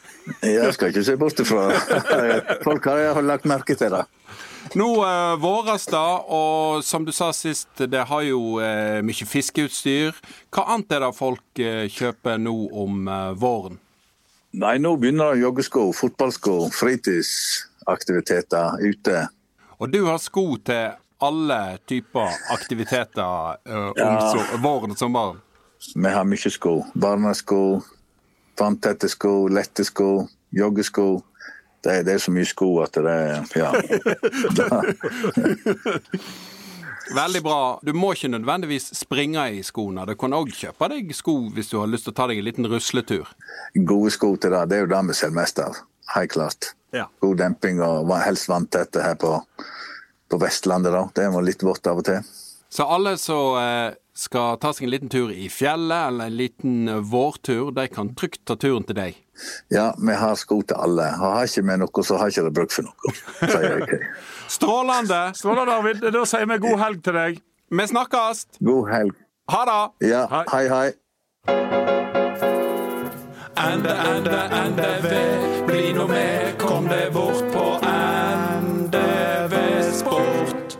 Jeg skal ikke se bort ifra. Folk har jeg lagt merke til det. Nå eh, våres det, og som du sa sist, det har jo eh, mye fiskeutstyr. Hva annet er det folk eh, kjøper nå om eh, våren? Nei, nå begynner joggesko, fotballsko, fritidsaktiviteter ute. Og du har sko til alle typer aktiviteter eh, om Ja. so våren og sommeren. Vi har mye sko. Barnesko, vanntette sko, lette sko, joggesko. Det er, det er så mye sko at det er Ja. Veldig bra. Du må ikke nødvendigvis springe i skoene. Du kan òg kjøpe deg sko hvis du har lyst til å ta deg en liten rusletur. Gode sko til det. Det er jo det vi ser mest av. Helt klart. Ja. God demping og va- helst vanntette her på, på Vestlandet, da. Det er litt vått av og til. Så alle som eh, skal ta seg en liten tur i fjellet eller en liten eh, vårtur, de kan trygt ta turen til deg. Ja, vi har sko til alle. Og har ikke vi noe, så har ikke det bruk for noe. Sier jeg. Strålende! Strålende, Arvid. Da sier vi god helg til deg. Vi snakkes! God helg. Ha det! Ja, Hei. hei, hei. Ende, ende, NDV, bli nå med, kom deg bort på NDV Sport.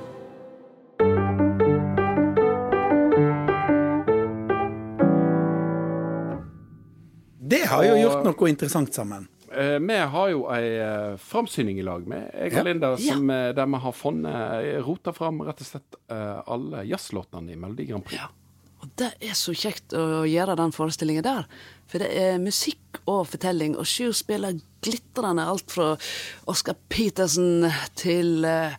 Det har jo gjort noe interessant sammen. Eh, vi har jo ei eh, framsyning i lag med jeg og Ja. Linda, Ja. som, eh, der vi har funnet eh, rota fram rett og slett eh, alle jazzlåtene i Melodi Grand Prix. Ja. Og det er så kjekt å gjøre den forestillingen der. For det er musikk og fortelling, og Sjur spiller glitrende alt fra Oscar Petersen til eh,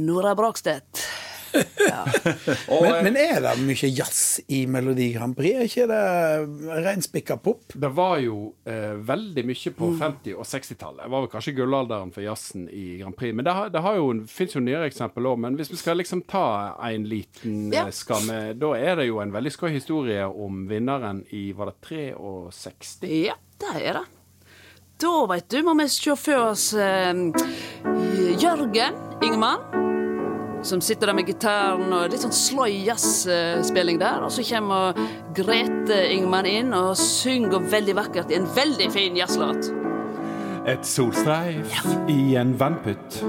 Nora Brogstedt. Men, men er det mye jazz i Melodi Grand Prix? Er ikke det reinspikka pop? Det var jo eh, veldig mye på 50- og 60-tallet. Det var vel kanskje gullalderen for jazzen i Grand Prix. Men det, har, det har jo, finnes jo nyere eksempel òg. Men hvis vi skal liksom ta en liten Ja. eh, skamme, da er det jo en veldig skøy historie om vinneren i var det 63? Ja, det er det. Da, veit du, må vi se for oss eh, Jørgen Ingemann. Som sitter der med gitaren og litt sånn slow jazz-spilling der. Og så kommer Grete Ingemann inn og synger veldig vakkert i en veldig fin jazzlåt. Et solstreif i en vannputt.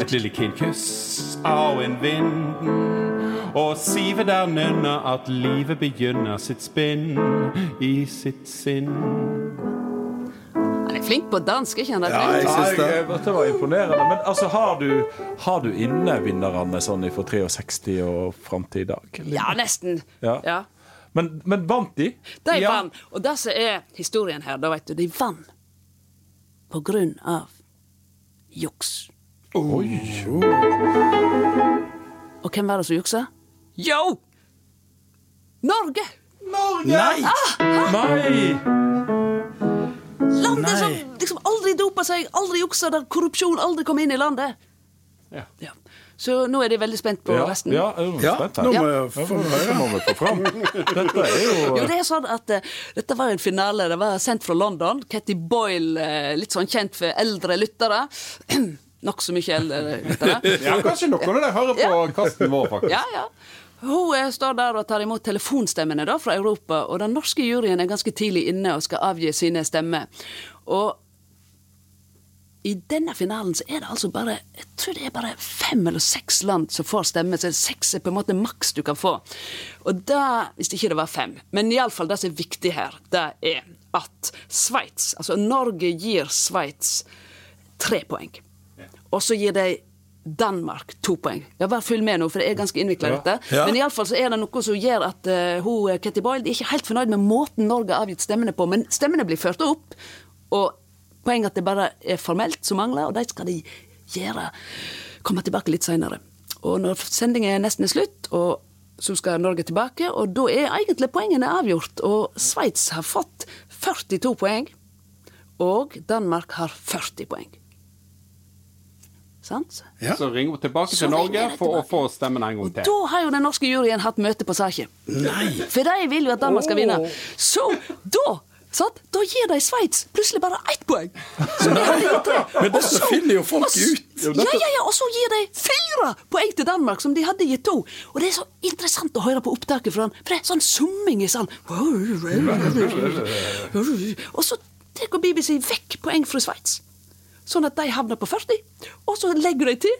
Et lille kindkyss av en vinden. Og sivet der nynner at livet begynner sitt spinn i sitt sinn. Han er flink på dansk, ikke han? Ja, jeg syns det. Dette var imponerende. Men altså, har du, har du inne vinnerne sånn fra 63 og fram til i dag? eller? ja nesten. Ja. Ja. Men, men vant de? De Ja. vann. Og det som er historien her, da vet du, de vann på grunn av juks. Og hvem var det som juksa? Yo! Norge! Nei! Nei! Landet Nei. som liksom aldri dopa seg, aldri juksa, der korrupsjon aldri kom inn i landet. Ja. Så nå er de veldig spent på Ja, resten. ja, jeg er jo Ja, spent nå her. må jeg få Dette må vi få fram. Dette er jo Jo, det er sånn at eh, Dette var jo en finale. Det var sendt fra London. Katie Boyle, eh, litt sånn kjent for eldre lyttere. Nokså mye eldre lyttere. Ja, kanskje noen av dere hører på kasten vår, faktisk. Ja, ja. Hun eh, står der og tar imot telefonstemmene da fra Europa, og den norske juryen er ganske tidlig inne og skal avgi sine stemmer. Og i denne finalen så er det altså bare jeg tror det er bare fem eller seks land som får stemme, så seks er på en måte maks du kan få. Og da, Hvis ikke det var fem. Men iallfall det som er viktig her, det er at Sveits Altså Norge gir Sveits tre poeng. Og så gir de Danmark to poeng. Ja, Bare følg med nå, for det er ganske innvikla, dette. Ja. Men iallfall så er det noe som gjør at eh, hun, Ketty Boyle de er ikke helt fornøyd med måten Norge har avgitt stemmene på, men stemmene blir ført opp. og Poenget er at det bare er formelt som mangler, og det skal de gjøre. Komme tilbake litt seinere. Og når sendingen er nesten slutt, og så skal Norge tilbake, og da er egentlig poengene avgjort. Og Sveits har fått 42 poeng, og Danmark har 40 poeng. Sant? Ja. Så ring tilbake Så til Norge ringer jeg for å tilbake. få stemmen en gang Og til. da har jo den norske juryen hatt møte på saken. For de vil jo at Danmark skal vinne. Så da sant? Da gir de Sveits plutselig bare ett poeng. Så de har lite. Men Og dette så- finner jo folk og s- ut. Ja, ja, ja, og så gir de fire poeng til Danmark, som de hadde gitt to. Og det er så interessant å høre på opptaket fra han, for det er sånn summing i salen. Og så tar BBC vekk poeng fra Sveits, sånn at de havner på 40. Og så legger de til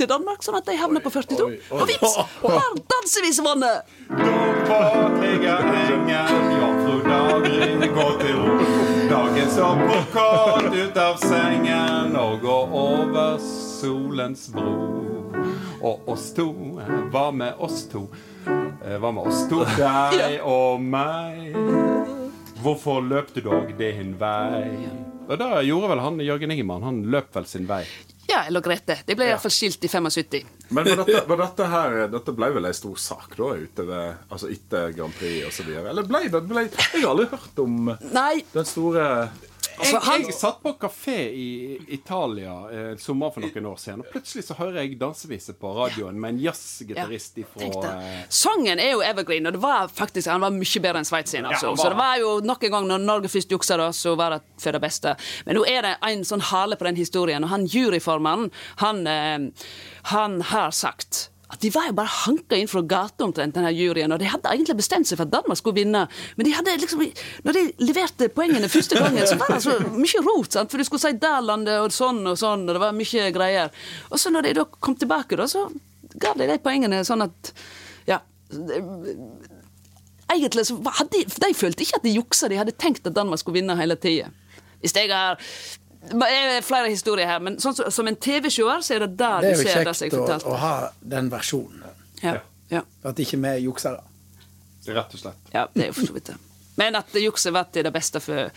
til Danmark, sånn at de havner på 42. Og vips, har dansevis vunnet! Båt ligger ringer, jomfru daggry går til ro. Dagen står kort ut av sengen og går over solens bro. Og oss to, hva med oss to? Eh, Hva med oss to, deg og meg? Hvorfor løp du dog din vei? Og da gjorde vel han Jørgen Ingemann. Han løp vel sin vei. Ja, eller Grete. De ble i hvert fall skilt i 75. Men var dette, var dette her Dette ble vel ei stor sak da utover, altså etter Grand Prix osv.? Eller ble det ble, Jeg har aldri hørt om Nei, den store Jeg, Altså, han- jeg satt på kafé i Italia eh, sommer for noen år siden, og plutselig så hører jeg dansevise på radioen med en jazzgitarist tenk ifra det. eh, Sangen er jo evergreen, og det var faktisk, han var mye bedre enn Sveits sin. Altså. han var så det var jo nok en gang når Norge først juksa, da, så var det for det beste. Men nå er det en sånn hale på den historien, og han juryformannen, han, eh, han har sagt at De var jo bare hanka inn fra gata, omtrent, denne juryen. Og de hadde egentlig bestemt seg for at Danmark skulle vinne. Men de hadde liksom, når de leverte poengene første gangen, så var det så mye rot. Sant? For du skulle si det landet og sånn og sånn, og det var mye greier. Og så når de da kom tilbake, da, så ga de de poengene sånn at Ja. Egentlig så var- hadde, de følte ikke at de juksa, de hadde tenkt at Danmark skulle vinne hele tida. Hvis jeg har det er flere historier her, men sånn, som- som en TV-seer så er det der Det du er jo ser det som jeg kjekt å, fortalte. å ha den versjonen. Ja, ja, At ikke vi er juksere. eh, Rett og slett. ja, det er jo for så vidt det. Men at jukset ble til det beste for eh,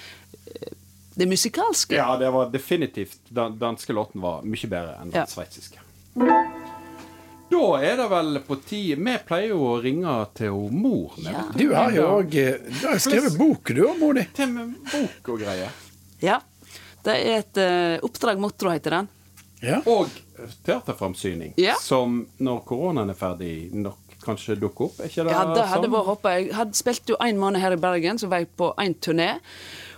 det musikalske. Ja, det var definitivt Den danske låten var mye bedre enn Ja. den sveitsiske. Da er det vel på tide Vi pleier jo å ringe til hun mor. med Ja. Du har jo òg Du har skrevet bok, du òg, Moni. Til med bok og greier. Ja. Det er et eh, oppdrag motro, heter den. Ja. Og teaterframsyning, Ja. som når koronaen er ferdig, nok kanskje dukker opp. Er ikke det Ja, det hadde sånn? vært håpet. Jeg hadde spilt jo en måned her i Bergen, så var jeg på en turné.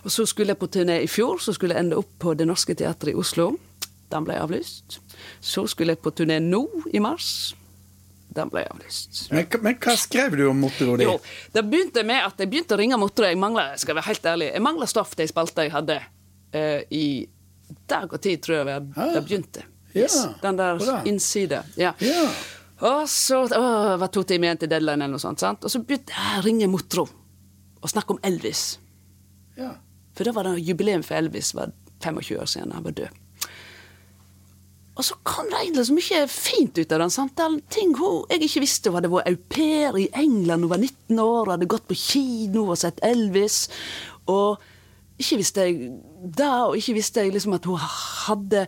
Og så skulle jeg på turné i fjor, så skulle jeg ende opp på Det Norske Teatret i Oslo. Den ble avlyst. Så skulle jeg på turné nå, i mars. Den ble avlyst. Men, men hva skrev du om motoroen din? Jo, det begynte med at jeg begynte å ringe motorer. Jeg mangla, skal jeg være helt ærlig, jeg mangla stoff til ei spalte jeg hadde eh, i dag og tid, tror jeg vi hadde- det begynte. Ja, Yes, Den der bra. innside. Ja. Ja. Og så å, det var to timer igjen til deadline, eller noe sånt. Sant? Og så begynte jeg å ringe Motro og snakke om Elvis. Ja. For da var det jubileum for Elvis var 25 år siden han var død. Og så kom det egentlig så mye fint ut av den samtalen. Ting hun, jeg ikke visste. Hun hadde vært au pair i England, hun var 19 år, hadde gått på kino og sett Elvis. Og ikke visste jeg da, og ikke visste jeg liksom at hun hadde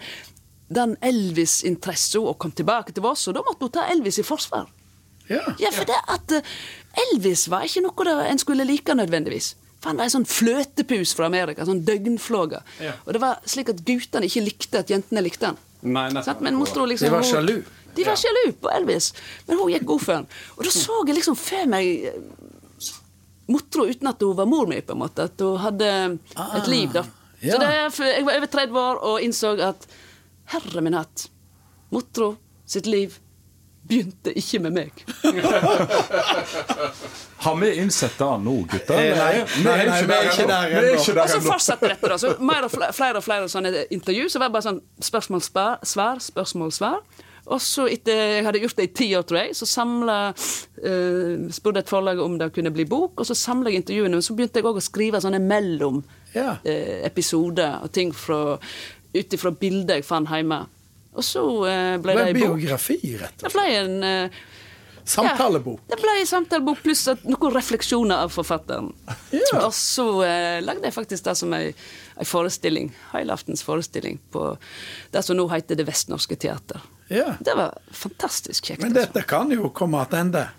den Elvis-interessa og kom tilbake til Voss, og da måtte hun ta Elvis i forsvar. Ja. Ja, for det at eh, Elvis var ikke noe det- en skulle like nødvendigvis. For han var en sånn fløtepus fra Amerika, sånn døgnflåge. Og det var slik at guttene ikke likte at jentene likte han. Nei, nettopp. Sant? Men mostra liksom De var hun- sjalu. De var sjalu på Elvis, men hun gikk god for han. Og da så jeg liksom for meg eh, motro uten at hun var mor mi, på en måte. At hun hadde et liv, da. Ah, ja. Så det, er- for jeg var over 30 år og innså at herre min hatt, motro sitt liv begynte ikke med meg. Har vi innsett det nå, gutter? Eh, nei, nei, nei, vi er ikke der Vi er ennå. ikke Og der så ennå. fortsatte dette, da. Så mer og fle- flere og flere sånne intervju, så var det bare sånn spørsmål, spa- svar, spørsmål, svar. Og så etter jeg hadde gjort det i ti år, tror jeg, så samla Spurte et forlag om det kunne bli bok, og så samla jeg intervjuene. Men så begynte jeg òg å skrive sånne mellom Ja. eh, episoder og ting fra ut ifra bilder jeg fant hjemme. Og så eh, Det ble det var en ei bok. biografi, rett og Det ble en eh, slett. Samtalebok. ja, det ble en samtalebok pluss at noen refleksjoner av forfatteren. Ja. Og så eh, lagde jeg faktisk det som ei, ei forestilling, heilaftens forestilling, på det som nå heter Det Vestnorske Teater. Ja. Det var fantastisk kjekt. Men Altså. dette kan jo komme tilbake.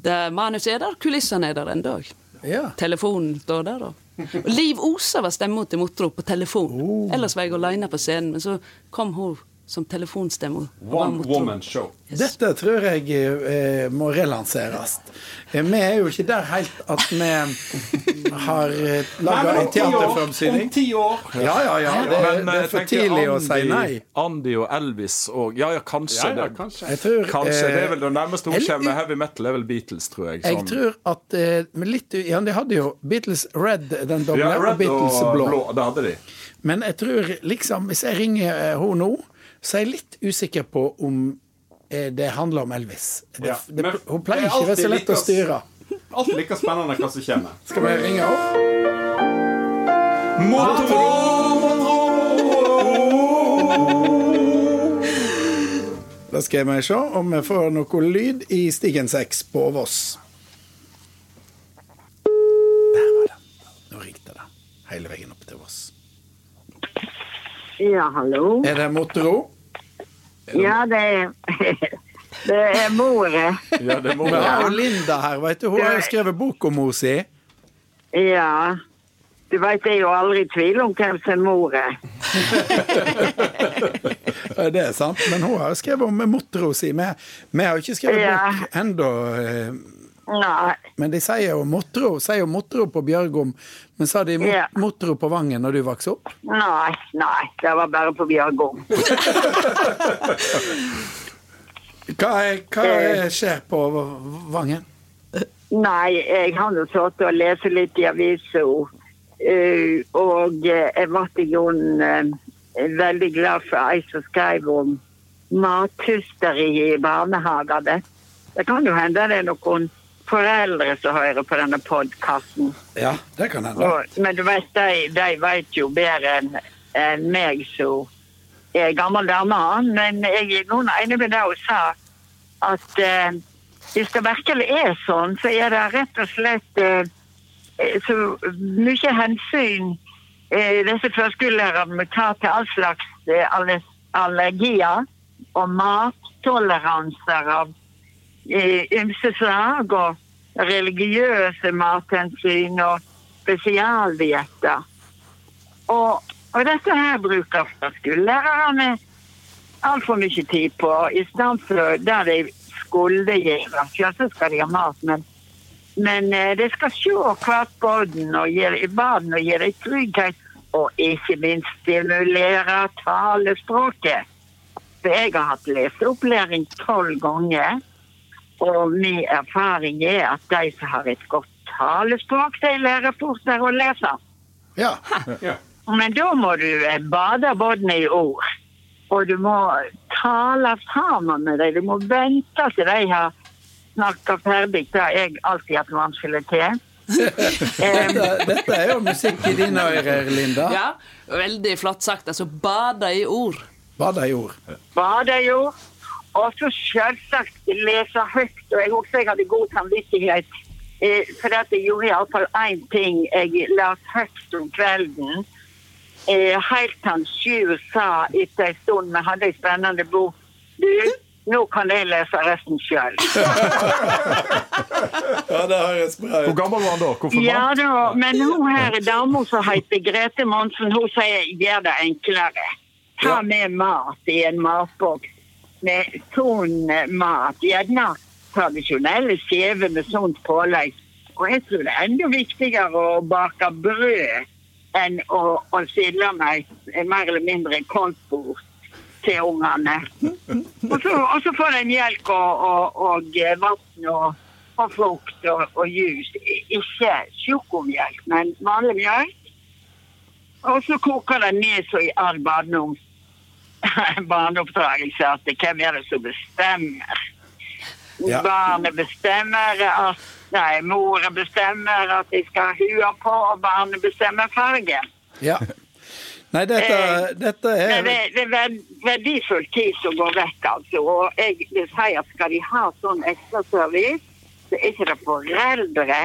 Det Manuset er der, kulissene er der en dag. Ja. Telefonen står der, da. Og Liv Osa var stemma til Motro på telefon. Oh. Ellers var jeg aleine på scenen, men så kom hun som telefonstemma. og var One Motro. woman show. Dette tror jeg eh, må relanseres. Eh, Vi er jo ikke der helt at vi har eh, laga men en om ti år, om teaterframstilling. ti år Ja, ja, ja. Det, Men, det eh, er for tenker tidlig å si Andy- nei. Andy og Elvis og Ja ja, kanskje. Ja, ja, det. kanskje. Jeg tror, Kanskje. eh, Det er vel det nærmeste hun eller- kommer heavy metal, er vel Beatles, tror jeg. Jeg sånn. tror at eh, men litt, u- ja, De hadde jo Beatles red, den doble, ja, og Red Beatles og blå. blå. Det hadde de. Men jeg tror liksom Hvis jeg ringer eh, henne nå, så er jeg litt usikker på om eh, det handler om Elvis. Det, Ja, det, men hun pleier det er ikke å være alltid så like lett å oss. styre. Alt like spennende hva som kommer. Skal vi ringe henne? Da skal vi se om vi får noe lyd i Stigen 6 på Voss. Der var det. Nå ringte det hele veien opp til Voss. Ja, hallo. Er det Motro? Ja, det er Det er moret. Ja, det må Vi være. har jo Linda her, vet du. Hun har jo skrevet bok om mor si. Ja. Du veit, jeg er jo aldri i tvil om hvem som er moret. Ja, Det er sant, men hun har jo skrevet om Motro si. Vi, vi har jo ikke skrevet Ja. bok ennå, eh, Nei. men de sier jo Motro, sier jo Motro på Bjørgom. Men sa de mot, Ja. Motro på Vangen når du vokste opp? Nei. Nei. Det var bare på Bjørgom. Hva, er, hva er, Eh. skjer på Vangen? Nei, jeg har nå sittet og lest litt i avisa, eh, og eh, jeg ble i grunnen eh, veldig glad for ei som skrev om mathysteri i barnehagene. Det kan jo hende det er noen foreldre som hører på denne podkasten. Ja, det kan hende. Og- Men du vet, de, de vet jo bedre enn enn meg som er gammel dame. Men jeg er noen enig med det hun sa, at eh, hvis det virkelig er sånn, så er det rett og slett eh, eh, så mye hensyn eh, disse førskolelærerne tar til all slags eh, alle- allergier og mattoleranser av eh, ymse slag og religiøse mathensyn og spesialdietter. Og, og dette her bruker førskolelærerne altfor mye tid på. I stedet for der de skulle gjøre. Ja, så skal de ha mat, men, men eh, de skal se hvert barn og gi i barn og gi dem trygghet. Og ikke minst stimulere talespråket. For jeg har hatt leseopplæring tolv ganger. Og min erfaring er at de som har et godt talespråk, de lærer fortere å lese. Ja. Men da må du eh, bade båten i ord. Og du må tale sammen med dem. Du må vente til de har snakka ferdig. Det har jeg alltid hatt vanskelig til. Em, Dette, dette er jo musikk i dine ører, Linda. Ja, veldig flott sagt. Altså, bada i ord. Bada i ord. bade jo. Og så selvsagt lese høyt. Og jeg husker jeg hadde god samvittighet. Eh, for at jeg gjorde iallfall én ting. Jeg las høyt om kvelden. eh, helt til han Sju sa etter en stund vi hadde en spennende bok Du, nå kan jeg lese resten sjøl. Ja, det høres bra Hvor ut. gammel var han da? Hvorfor Ja var han? da, men hun her i dama som heter Grete Monsen, hun sier 'gjør det enklere'. Ta med mat i en matboks med sunn mat. Gjerne tradisjonelle skiver med sunt pålegg. Og jeg tror det er enda viktigere å bake brød enn å, å stille meg mer eller mindre koldtbord til ungene. Og så, og så får de melk og, og, og vann og, og frukt og, og juice. I- Ikke sjokomelk, men vanlig melk. Og så koker det ned så i all barndom, barneoppdragelse at det- hvem er det som bestemmer? Ja. Barnet bestemmer at Nei, mora bestemmer at de skal ha hua på, og barnet bestemmer fargen. Ja. Nei, dette, dette Eh. er Men det, det er verd, verdifull tid som går vekk, altså. Og jeg vil si at skal de ha sånn ekstraservice, så er ikke det foreldre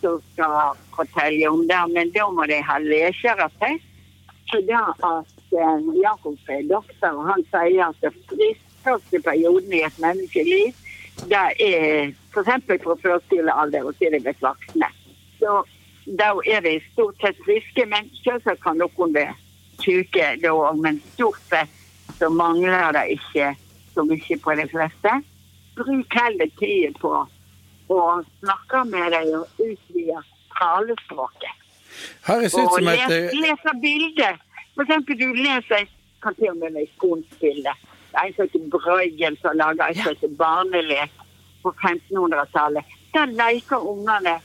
som skal fortelle om det, men da må de ha leseattest. Så det at eh, Jakob er doktor, og han sier at det friskeste perioden i et menneskeliv, det er f.eks. fra førskolealder og til de blir voksne. Så da er de stort sett friske, men selvsagt kan noen være syke da òg, men stort sett så mangler det ikke så mye på de fleste. Bruk heller tida på å snakke med dem og utvide talespråket. Høres ut Og som et les, eh, lese bilder. For eksempel du leser kan til og med med skonspillet. Det er en som heter Brøgel som lager en som heter barnelek på 1500-tallet. Der leker ungene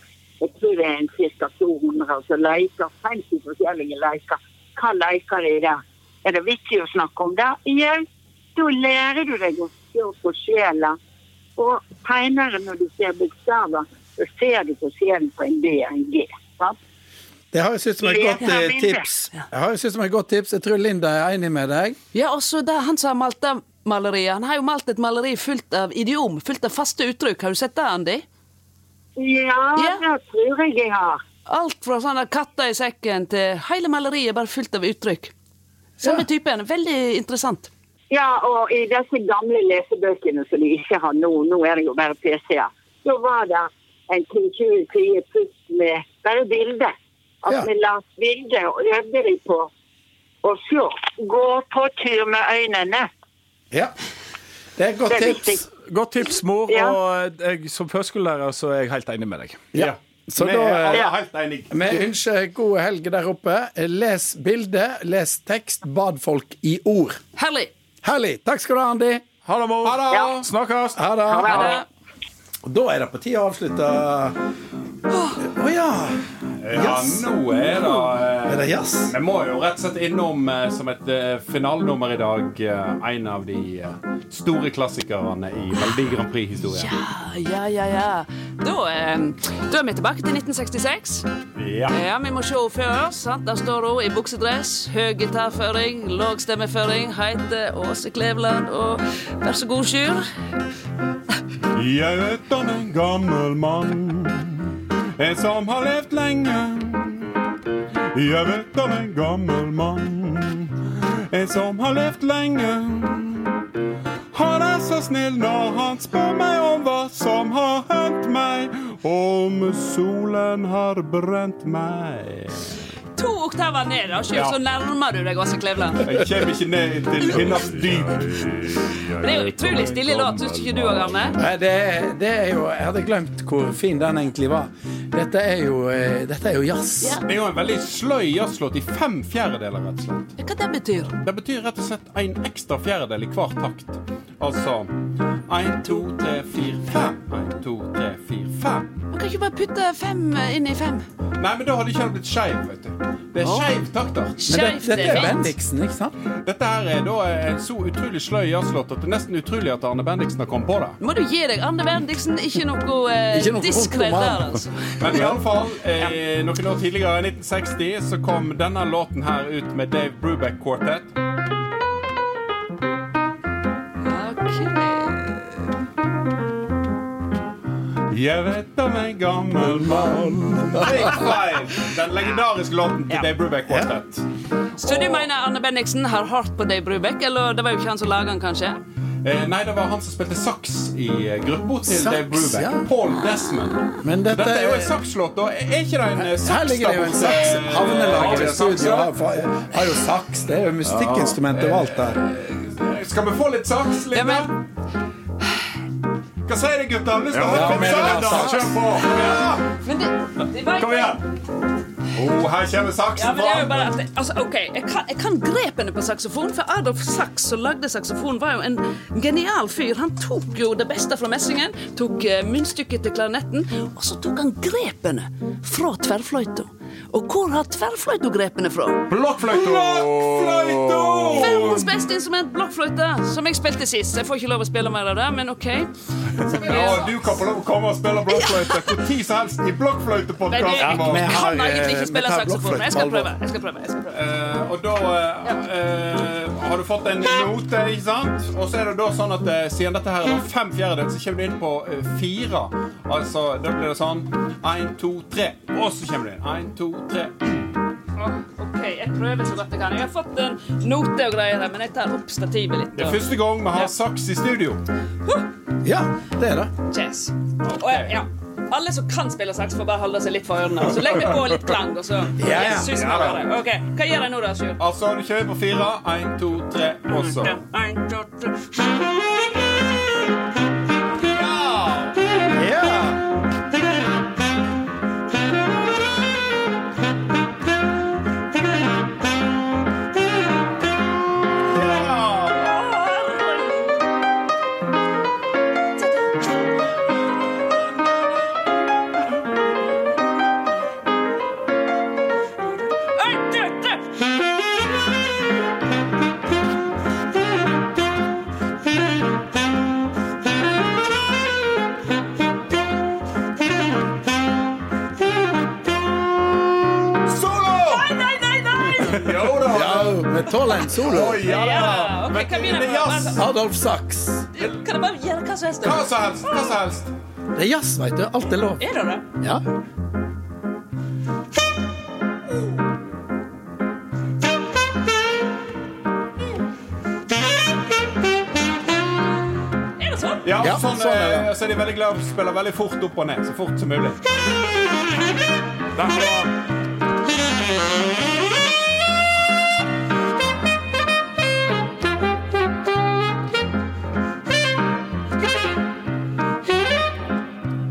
jeg tror det er en ca. 200 som leker 50 forskjellige leker. Hva leker de der? Er det viktig å snakke om det? Ja, da lærer du deg å se på sjela. Og senere når du ser bokstaver, så ser du på sjelen på en B og en G. Sant? Det høres ut som et godt eh, Ja, tips. Det høres ut som et godt tips. Jeg tror Linda er enig med deg. Ja, og så det er han som har malt det maleriet. Han har jo malt et maleri fullt av idiom, fullt av faste uttrykk. Har du sett det, Andy? Ja, Ja. det tror jeg jeg har. Alt fra sånne katter i sekken til hele maleriet er bare fullt av uttrykk. Samme typen. Veldig interessant. Ja, og i disse gamle lesebøkene som de ikke har nå, nå er det jo bare PC-er, så var det en 10-20 sider putt med bare bilder. At Ja. vi la bilder og øvde dem på å se. Gå på tur med øynene. Ja. Det er et godt Det er tips. Godt tips, mor. Ja. Og jeg, som førskolelærer så er jeg helt enig med deg. Ja. Så Vi da er eh, alle helt enige. Vi ønsker god helg der oppe. Les bilde, les tekst, bad folk i ord. Herlig. Herlig. Takk skal du ha, Andy. Ha det, mor. Ja. Snakkes. Ha det. Ha Ja, det. det- Da er det på tide å avslutte Å ja. Ja, nå er det eh, Er det jazz? Vi må jo rett og slett innom eh, som et eh, finalenummer i dag eh, en av de eh, store klassikerne i Melodi Grand Prix-historien. ja, ja. ja. Da, eh, da er vi tilbake til 1966. Ja. Ja, Vi må se henne først. sant? Der står hun i buksedress, høy gitarføring, låg stemmeføring, heter Åse Kleveland og vær så god, Sjur. Jeg vet om en gammel mann En som har levd lenge Jeg vet om en gammel mann En som har levd lenge Han er så snill når han spør meg om hva som har hendt meg Om solen har brent meg To oktaver ned, da, Sjur, så nærmer du deg Åse Kleveland. Jeg kommer ikke ned til hennes dyp Men Det er jo utrolig stille låt, syns ikke du òg, Arne? Nei, det, er- det er jo Jeg hadde glemt hvor fin den egentlig var. Dette er jo, eh, dette er jo jazz. Ja. Det er jo en veldig sløy jazzlåt i fem fjerdedeler rett og slett Hva det betyr? Det betyr rett og slett en ekstra fjerdedel i hver takt. Altså 1, 2, 3, 4, 5. 1, 2, 3, 4, 5. Man kan ikke bare putte fem eh, inn i fem. Nei, men da hadde ikke det blitt skeiv, vet du. Det er skeiv takter. Men det, Skeivt dette er er fint. Bendiksen, ikke sant? Dette her er da eh, en så utrolig sløy jazzlåt at det er nesten utrolig at Arne Bendiksen har kommet på det. Må du gi deg, Arne Bendiksen. Ikke noe eh, Ikke noe diskrett der, roman. altså. Men iallfall, eh, noen år tidligere, i 1960, så kom denne låten her ut med Dave Brubeck Quartet. Ok. Jeg vet om en gammel mann Big Five! Den legendariske låten til Ja. Dave Brubeck Quartet. Så du mener Arne Bendiksen har hørt på Dave Brubeck? Eller det var jo ikke han som laga den, kanskje? Eh, nei, det var han som spilte saks i eh, gruppa til Saks, Dave Brubeck. ja. Paul Desmond. Men dette Dette er jo er- en sakslåt, da. Er ikke det en eh, saks Her ligger det jo en saks. Havnelaget i studio har, har jo saks. Det er jo musikkinstrument og alt der. Skal vi få litt saks, Ja, Linda? men, Hva sier du, gutter? Lyst til å ha kom igjen, litt saks? Linda. Kjør på. men det, det var Kom igjen. Oh, her kommer Ja, saksen men det er jo fram. bare at det, altså, ok, jeg kan, jeg kan grepene på saksofon, for Adolf Sachs som lagde saksofon, var jo en genial fyr. Han tok jo det beste fra messingen, tok eh, munnstykket til klarinetten, og så tok han grepene fra tverrfløyta. Og hvor har tverrfløyta grepene fra? Verdens beste instrument, blokkfløyte, som jeg spilte sist. Jeg får ikke lov å spille mer av det, men OK. Så blir det- Ja, du kan få lov å komme og spille blokkfløyte hvor tid som helst i Men det, jeg blokkfløytepodkasten vår. har, kan egentlig eh, ikke spille vi tar saksofon. men Jeg skal blokkfløyte på prøve. Jeg skal prøve. Jeg skal prøve. Eh, og da eh, eh, har du fått en note, ikke sant? Og så er det da sånn at eh, siden dette her er fem fjerdedels, så kommer du inn på eh, fire. Altså, da blir det sånn én, to, tre. Og så kommer du inn. Én, to, tre. OK, jeg prøver så godt jeg kan. Jeg har fått en note og greier her, men jeg tar opp stativet litt. Det er og- første gang vi har saks i studio. Ja, det er det. Jazz. Og, jeg- ja. Alle som kan spille saks, får bare holde seg litt for ørene. og Så legg vi på litt klang, og så Ja, ja. Jesus, Ja, da. nå var det. Ok, Hva gjør jeg nå, da, Sjur? Altså, du kjører på fire. Én, to, tre, og så Ja, en, to, tre. En, to, tre. Solo! Nei, nei, nei, nei! Jo da. Ja, vi tåler en solo. Oi, ja da. Ja, ok, hva begynner Det er jeg med? jazz. Adolf Sachs. Kan jeg bare gjøre hva som helst? Hva da? som helst. Hva som helst. Det er jazz, veit du. Alt er lov. Er det det? Ja. Er det sånn? Ja, Ja, sånn, sånn er eh, det. så er de veldig glad i å spille veldig fort opp og ned. Så fort som mulig.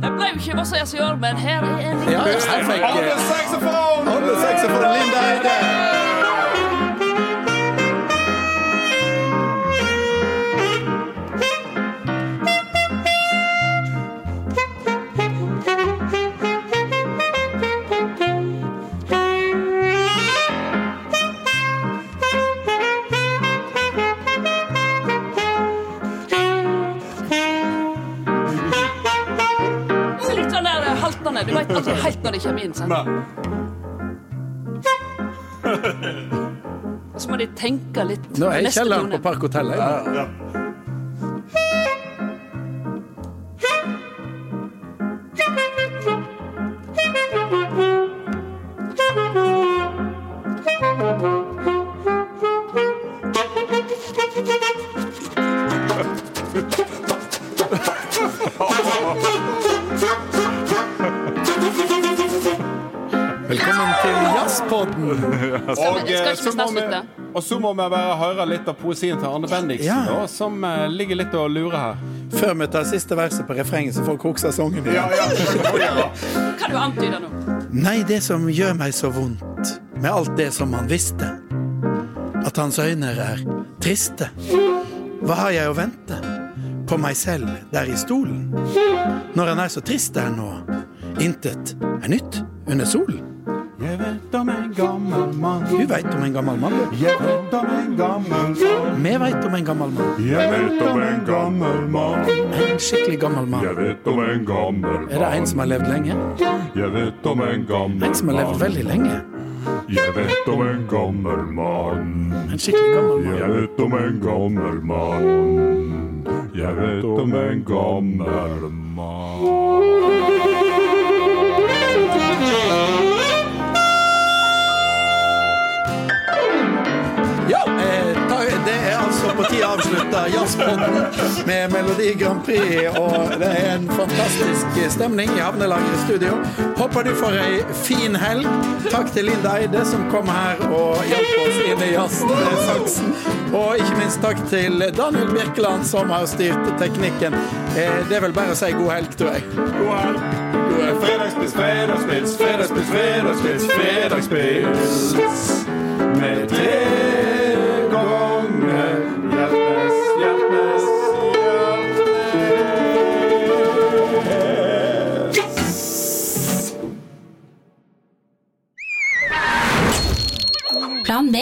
Jeg ble jo ikke Vossajazz i år, men her er en ja her fikk On the eh, saxophone! Adolf Sachs for Linda Eide. Så litt sånn der eh, haltende. Du vet aldri helt når det kommer inn. sant? Og så må de tenke litt. Nå er jeg i neste kjelleren tone. på Park Hotel. jeg. Velkommen til Jazzpodden. Skal Og, vi- skal ikke vi eh, så må snart vi- slutte? og så må vi bare høre litt av poesien til Arne Bendiksen, Ja. da, som eh, ligger litt og lurer her. Før vi tar siste verset på refrenget, så folk husker sangen. igjen. Hva du antyder nå? Nei, det som gjør meg så vondt med alt det som han visste, at hans øyne er triste. Hva har jeg å vente på meg selv der i stolen? Når han er så trist der nå, intet er nytt under solen. Jeg vet om en gammel mann. Du veit om en gammel mann, du. Jeg vet om en gammel mann. Vi veit om en gammel mann. Jeg vet om en gammel mann. En skikkelig gammel mann. Jeg vet om en gammel Er det en mann. som har levd lenge? Jeg vet om en gammel En som har levd mann. veldig lenge? Jeg vet om en gammel mann. En skikkelig gammel mann. Jeg vet om en gammel mann. Jeg vet om en gammel mann. eh, Vi avslutter jazzpodden med Melodi Grand Prix, og det er en fantastisk stemning i Havnelaget studio. Håper du får ei fin helg. Takk til Linda Eide som kom her og hjalp oss inn i jazzsaksen. Og ikke minst takk til Daniel Birkeland som har styrt teknikken. Eh, Det er vel bare å si god helg, tror jeg. Fredagspils, fredagspils, fredagspils, fredagspils, fredagspils Med deg og Ånge Hjeltnes, Hjeltnes, Hjeltnes Plan B